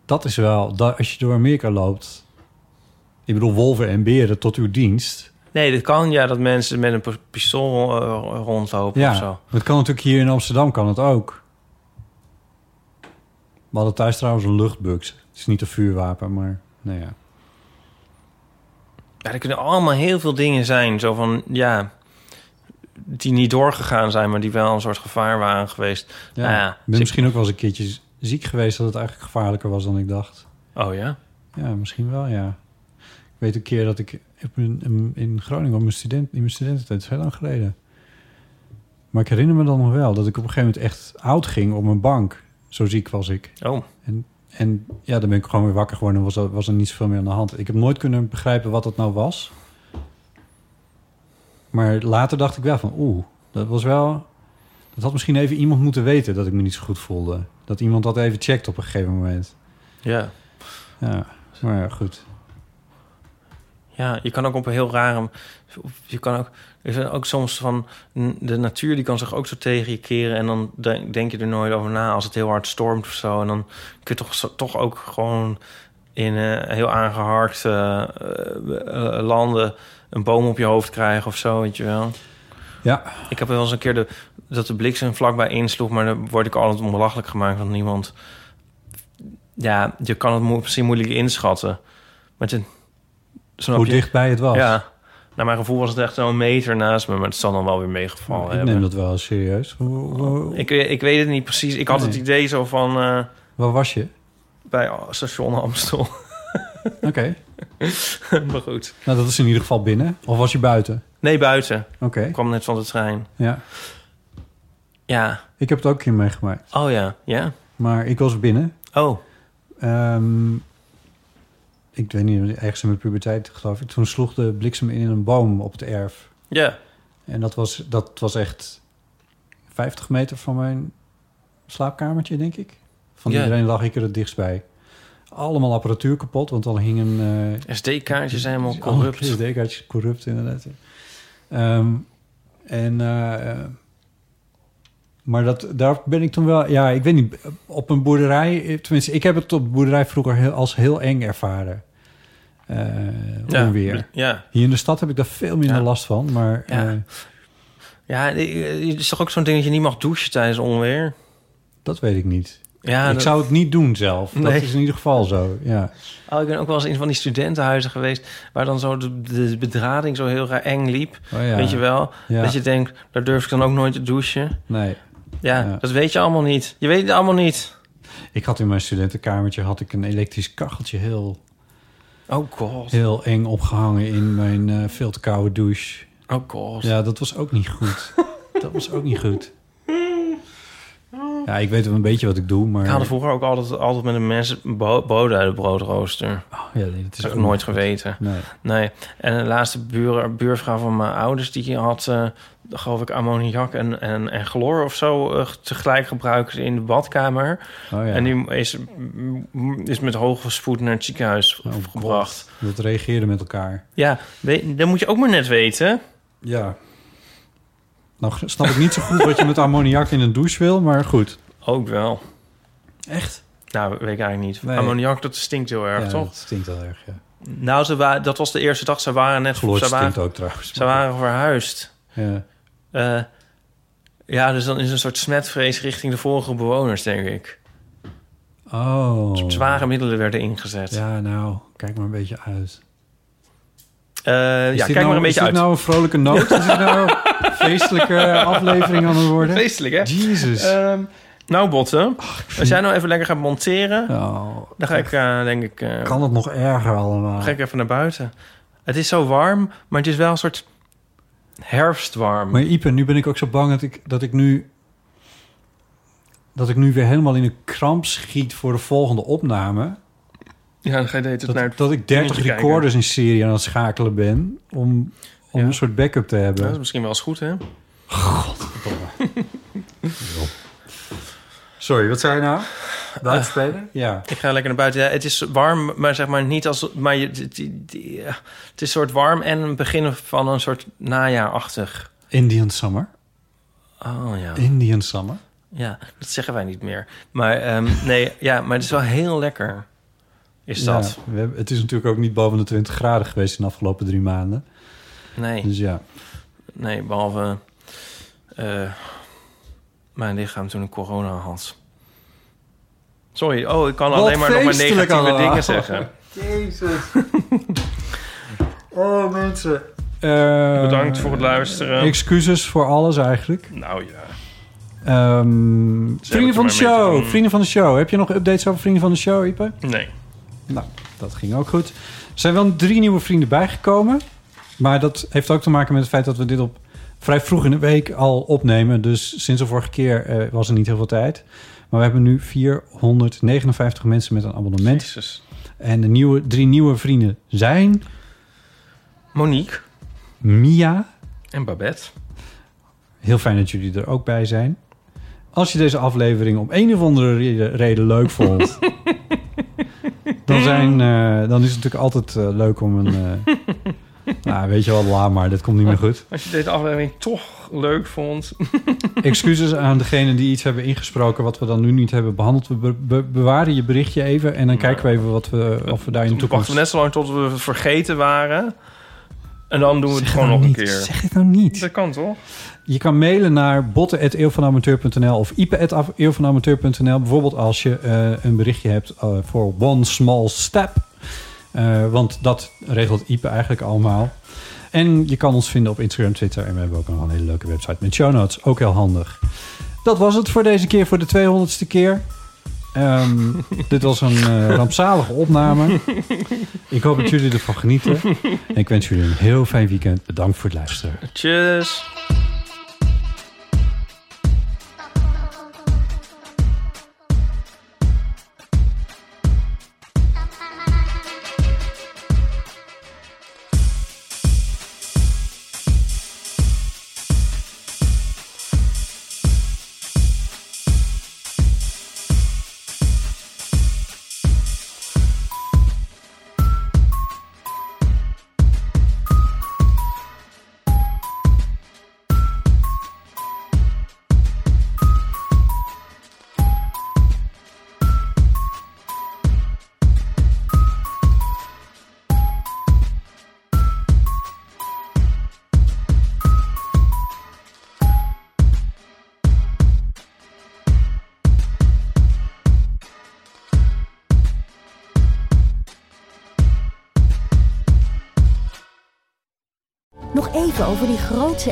[SPEAKER 10] Dat is wel, dat, als je door Amerika loopt... Ik bedoel, wolven en beren tot uw dienst...
[SPEAKER 8] Nee, dat kan ja dat mensen met een pi- pistool eh, rondlopen of
[SPEAKER 10] Ja,
[SPEAKER 8] zo.
[SPEAKER 10] dat kan natuurlijk hier in Amsterdam kan het ook. We hadden thuis trouwens een luchtbux. Het is niet een vuurwapen, maar nou ja.
[SPEAKER 8] Ja, er kunnen allemaal heel veel dingen zijn. Zo van, ja, die niet doorgegaan zijn, maar die wel een soort gevaar waren geweest.
[SPEAKER 10] ja.
[SPEAKER 8] Nou
[SPEAKER 10] ik ben misschien ook wel eens een keertje z- ziek geweest dat het eigenlijk gevaarlijker was dan ik dacht.
[SPEAKER 8] Oh ja?
[SPEAKER 10] Ja, misschien wel, ja. Ik weet een keer dat ik op een- in Groningen op mijn student, in mijn studententijd, dat is heel lang geleden. Maar ik herinner me dan nog wel dat ik op een gegeven moment echt oud ging op mijn bank. Zo ziek was ik.
[SPEAKER 8] Oh.
[SPEAKER 10] En, en ja, dan ben ik gewoon weer wakker geworden en was, er- was er niet zoveel meer aan de hand. Ik heb nooit kunnen begrijpen wat dat nou was. Maar later dacht ik wel van, oeh, dat was wel... Dat had misschien even iemand moeten weten dat ik me niet zo goed voelde. Dat iemand dat even checkt op een gegeven moment.
[SPEAKER 8] Ja.
[SPEAKER 10] Ja, maar Nou ja, goed.
[SPEAKER 8] Ja, je kan ook op een heel rare... Je kan ook, er zijn ook soms van... De natuur die kan zich ook zo tegen je keren... en dan de- denk je er nooit over na als het heel hard stormt of zo. En dan kun je toch, zo- toch ook gewoon in eh, heel aangeharkte eh, eh, landen... een boom op je hoofd krijgen of zo, weet je wel.
[SPEAKER 10] Ja.
[SPEAKER 8] Ik heb wel eens een keer de, dat de bliksem vlakbij insloeg... maar dan word ik altijd onbelachelijk gemaakt van niemand. Ja, je kan het mo- misschien moeilijk inschatten. Met een, snap
[SPEAKER 10] Hoe
[SPEAKER 8] je?
[SPEAKER 10] dichtbij het was.
[SPEAKER 8] Ja. Naar mijn gevoel was het echt zo'n meter naast me, maar het zal dan wel weer meegevallen
[SPEAKER 10] ik
[SPEAKER 8] hebben. Oh,
[SPEAKER 10] neem dat wel serieus. Hoe- hoe-
[SPEAKER 8] Ik, ik weet het niet precies. Ik had
[SPEAKER 10] Nee.
[SPEAKER 8] het idee zo van eh,
[SPEAKER 10] Waar was je?
[SPEAKER 8] bij station Amstel.
[SPEAKER 10] Oké.
[SPEAKER 8] maar goed.
[SPEAKER 10] Nou, dat is in ieder geval binnen. Of was je buiten?
[SPEAKER 8] Nee, buiten.
[SPEAKER 10] Oké.
[SPEAKER 8] Ik kwam net van de trein.
[SPEAKER 10] Ja.
[SPEAKER 8] Ja.
[SPEAKER 10] Ik heb het ook een keer meegemaakt.
[SPEAKER 8] Oh ja. Ja.
[SPEAKER 10] Maar ik was binnen.
[SPEAKER 8] Oh.
[SPEAKER 10] Ehm, ik weet niet, ergens in mijn puberteit geloof ik. Toen sloeg de bliksem in een boom op het erf.
[SPEAKER 8] Ja.
[SPEAKER 10] En dat was, dat was echt 50 meter van mijn slaapkamertje, denk ik. Van
[SPEAKER 8] Ja.
[SPEAKER 10] iedereen lag ik er het dichtst bij. Allemaal apparatuur kapot, want dan hing een... eh, Oh,
[SPEAKER 8] SD-kaartjes zijn helemaal corrupt.
[SPEAKER 10] SD-kaartjes corrupt, inderdaad. Ehm, en... eh, eh, maar dat, daar ben ik toen wel... Ja, ik weet niet, op een boerderij... eh, Tenminste, ik heb het op de boerderij vroeger heel, als heel eng ervaren. Eh
[SPEAKER 8] Ja,
[SPEAKER 10] onweer.
[SPEAKER 8] ja.
[SPEAKER 10] Hier in de stad heb ik daar veel minder last van, maar...
[SPEAKER 8] Ja.
[SPEAKER 10] eh,
[SPEAKER 8] Ja, eh, het is toch ook zo'n ding dat je niet mag douchen tijdens onweer?
[SPEAKER 10] Dat weet ik niet.
[SPEAKER 8] Ja,
[SPEAKER 10] ik
[SPEAKER 8] dat-
[SPEAKER 10] zou het niet doen zelf.
[SPEAKER 8] Nee.
[SPEAKER 10] Dat is in ieder geval zo. Ja.
[SPEAKER 8] Oh, ik ben ook wel eens in van die studentenhuizen geweest... waar dan zo de, de bedrading zo heel raar eng liep.
[SPEAKER 10] Oh ja.
[SPEAKER 8] Weet je wel?
[SPEAKER 10] Ja.
[SPEAKER 8] Dat je denkt, daar durf ik dan ook nooit te douchen.
[SPEAKER 10] Nee.
[SPEAKER 8] Ja, dat weet je allemaal niet. Je weet het allemaal niet.
[SPEAKER 10] Ik had in mijn studentenkamertje had ik een elektrisch kacheltje heel,
[SPEAKER 8] Oh god.
[SPEAKER 10] heel eng opgehangen in mijn eh, veel te koude douche.
[SPEAKER 8] Oh god.
[SPEAKER 10] Ja, dat was ook niet goed. dat was ook niet goed. Ja, ik weet wel een beetje wat ik doe, maar...
[SPEAKER 8] Ik haalde vroeger ook altijd, altijd met een mes bo- boden uit de broodrooster.
[SPEAKER 10] Oh, ja, nee, dat is
[SPEAKER 8] heb
[SPEAKER 10] ook
[SPEAKER 8] ik nooit
[SPEAKER 10] niet goed.
[SPEAKER 8] geweten.
[SPEAKER 10] Nee.
[SPEAKER 8] En de laatste buur, buurvrouw van mijn ouders... die had, eh, geloof ik, ammoniak en, en, en chloor of zo... eh, tegelijk gebruikt in de badkamer.
[SPEAKER 10] Oh ja.
[SPEAKER 8] En die is, is met hoge spoed naar het ziekenhuis
[SPEAKER 10] Oh,
[SPEAKER 8] gebracht.
[SPEAKER 10] Dat reageerde met elkaar.
[SPEAKER 8] Ja, we- dat moet je ook maar net weten.
[SPEAKER 10] Ja. Nou snap ik niet zo goed wat je met ammoniak in een douche wil, maar goed.
[SPEAKER 8] Ook wel.
[SPEAKER 10] Echt?
[SPEAKER 8] Nou, weet ik eigenlijk niet.
[SPEAKER 10] Nee.
[SPEAKER 8] Ammoniak, dat stinkt heel erg,
[SPEAKER 10] Ja,
[SPEAKER 8] toch?
[SPEAKER 10] dat stinkt heel erg, ja.
[SPEAKER 8] Nou, ze wa- dat was de eerste dag. Ze waren net...
[SPEAKER 10] Chloor
[SPEAKER 8] ze waren,
[SPEAKER 10] stinkt ook trouwens.
[SPEAKER 8] Ze waren verhuisd.
[SPEAKER 10] Ja.
[SPEAKER 8] Eh, ja, dus dan is een soort smetvrees richting de vorige bewoners, denk ik.
[SPEAKER 10] Oh.
[SPEAKER 8] Zware middelen werden ingezet.
[SPEAKER 10] Ja, nou, kijk maar een beetje uit. Is
[SPEAKER 8] Eh, ja,
[SPEAKER 10] dit
[SPEAKER 8] kijk
[SPEAKER 10] nou-
[SPEAKER 8] maar een beetje
[SPEAKER 10] Is
[SPEAKER 8] uit.
[SPEAKER 10] dit nou een vrolijke noot? Is dit nou een feestelijke aflevering aan het worden?
[SPEAKER 8] Feestelijk, hè?
[SPEAKER 10] Jezus.
[SPEAKER 8] Ehm, nou, botten. Als jij nou even lekker gaat monteren... dan ga ik, eh, denk ik... eh,
[SPEAKER 10] Nou, Kan het nog erger allemaal?
[SPEAKER 8] ga ik even naar buiten. Het is zo warm, maar het is wel een soort herfstwarm.
[SPEAKER 10] Maar Ipe, nu ben ik ook zo bang dat ik, dat ik nu... dat ik nu weer helemaal in een kramp schiet voor de volgende opname.
[SPEAKER 8] Ja, dan ga je de hele tijd naar het
[SPEAKER 10] Dat ik 30
[SPEAKER 8] dingetje kijken.
[SPEAKER 10] recorders in serie aan het schakelen ben... om, om een soort backup te
[SPEAKER 8] Ja,
[SPEAKER 10] hebben.
[SPEAKER 8] dat is misschien wel eens goed, hè?
[SPEAKER 10] Sorry, wat zei je nou?
[SPEAKER 8] Buiten
[SPEAKER 10] spelen? Ja.
[SPEAKER 8] Ik ga lekker naar buiten. Ja, het is warm, maar zeg maar niet als... Maar je, die- die- die- ja. het is soort warm en een begin van een soort najaarachtig.
[SPEAKER 10] Indian Summer.
[SPEAKER 8] Oh ja.
[SPEAKER 10] Indian Summer.
[SPEAKER 8] Ja, dat zeggen wij niet meer. Maar ehm, nee, ja, maar het is wel heel lekker. Is
[SPEAKER 10] Ja,
[SPEAKER 8] dat?
[SPEAKER 10] we hebben, het is natuurlijk ook niet boven de 20 graden geweest in de afgelopen drie maanden.
[SPEAKER 8] Nee.
[SPEAKER 10] Dus ja.
[SPEAKER 8] Nee, behalve eh, mijn lichaam toen ik corona had. Sorry, oh, ik kan
[SPEAKER 10] Wat
[SPEAKER 8] alleen maar nog maar
[SPEAKER 10] feestelijk
[SPEAKER 8] negatieve
[SPEAKER 10] allemaal.
[SPEAKER 8] dingen zeggen.
[SPEAKER 10] Jezus. oh, mensen.
[SPEAKER 8] Bedankt voor het luisteren.
[SPEAKER 10] Eh, Excuses voor alles eigenlijk.
[SPEAKER 8] Nou ja.
[SPEAKER 10] Ehm, vrienden van de
[SPEAKER 8] maar mee te
[SPEAKER 10] show.
[SPEAKER 8] doen.
[SPEAKER 10] Vrienden van de show. Heb je nog updates over vrienden van de show, Ipe?
[SPEAKER 8] Nee.
[SPEAKER 10] Nou, dat ging ook goed. Er zijn wel drie nieuwe vrienden bijgekomen. Maar dat heeft ook te maken met het feit dat we dit op vrij vroeg in de week al opnemen. Dus sinds de vorige keer eh, was er niet heel veel tijd. Maar we hebben nu 459 mensen met een abonnement. En de nieuwe, drie nieuwe vrienden zijn...
[SPEAKER 8] Monique.
[SPEAKER 10] Mia.
[SPEAKER 8] En Babette.
[SPEAKER 10] Heel fijn dat jullie er ook bij zijn. Als je deze aflevering om een of andere reden- reden leuk vond... dan, zijn, eh, dan is het natuurlijk altijd eh, leuk om een... eh, nou, weet je wel, laat maar. Dit komt niet meer goed.
[SPEAKER 8] Oh, Als je deze aflevering toch leuk vond.
[SPEAKER 10] Excuses aan degenen die iets hebben ingesproken... wat we dan nu niet hebben behandeld. We be- be- bewaren je berichtje even... en dan kijken we even wat we, of we daar in de toekomst...
[SPEAKER 8] Wachten we net zo lang tot we het vergeten waren. En dan doen we het gewoon nog
[SPEAKER 10] nou
[SPEAKER 8] een
[SPEAKER 10] niet.
[SPEAKER 8] keer.
[SPEAKER 10] Zeg het nou niet.
[SPEAKER 8] Dat kan toch?
[SPEAKER 10] Je kan mailen naar botten.eeuwvanamateur.nl of ipe.eeuwvanamateur.nl. Bijvoorbeeld als je eh, een berichtje hebt eh, voor One Small Step. Eh, want dat regelt Ipe eigenlijk allemaal. En je kan ons vinden op Instagram, Twitter. En we hebben ook nog een hele leuke website met show notes. Ook heel handig. Dat was het voor deze keer, voor de 200ste keer. Ehm, dit was een eh, rampzalige opname. Ik hoop dat jullie ervan genieten. En ik wens jullie een heel fijn weekend. Bedankt voor het luisteren.
[SPEAKER 8] Tjus.
[SPEAKER 1] Nog even over die grootse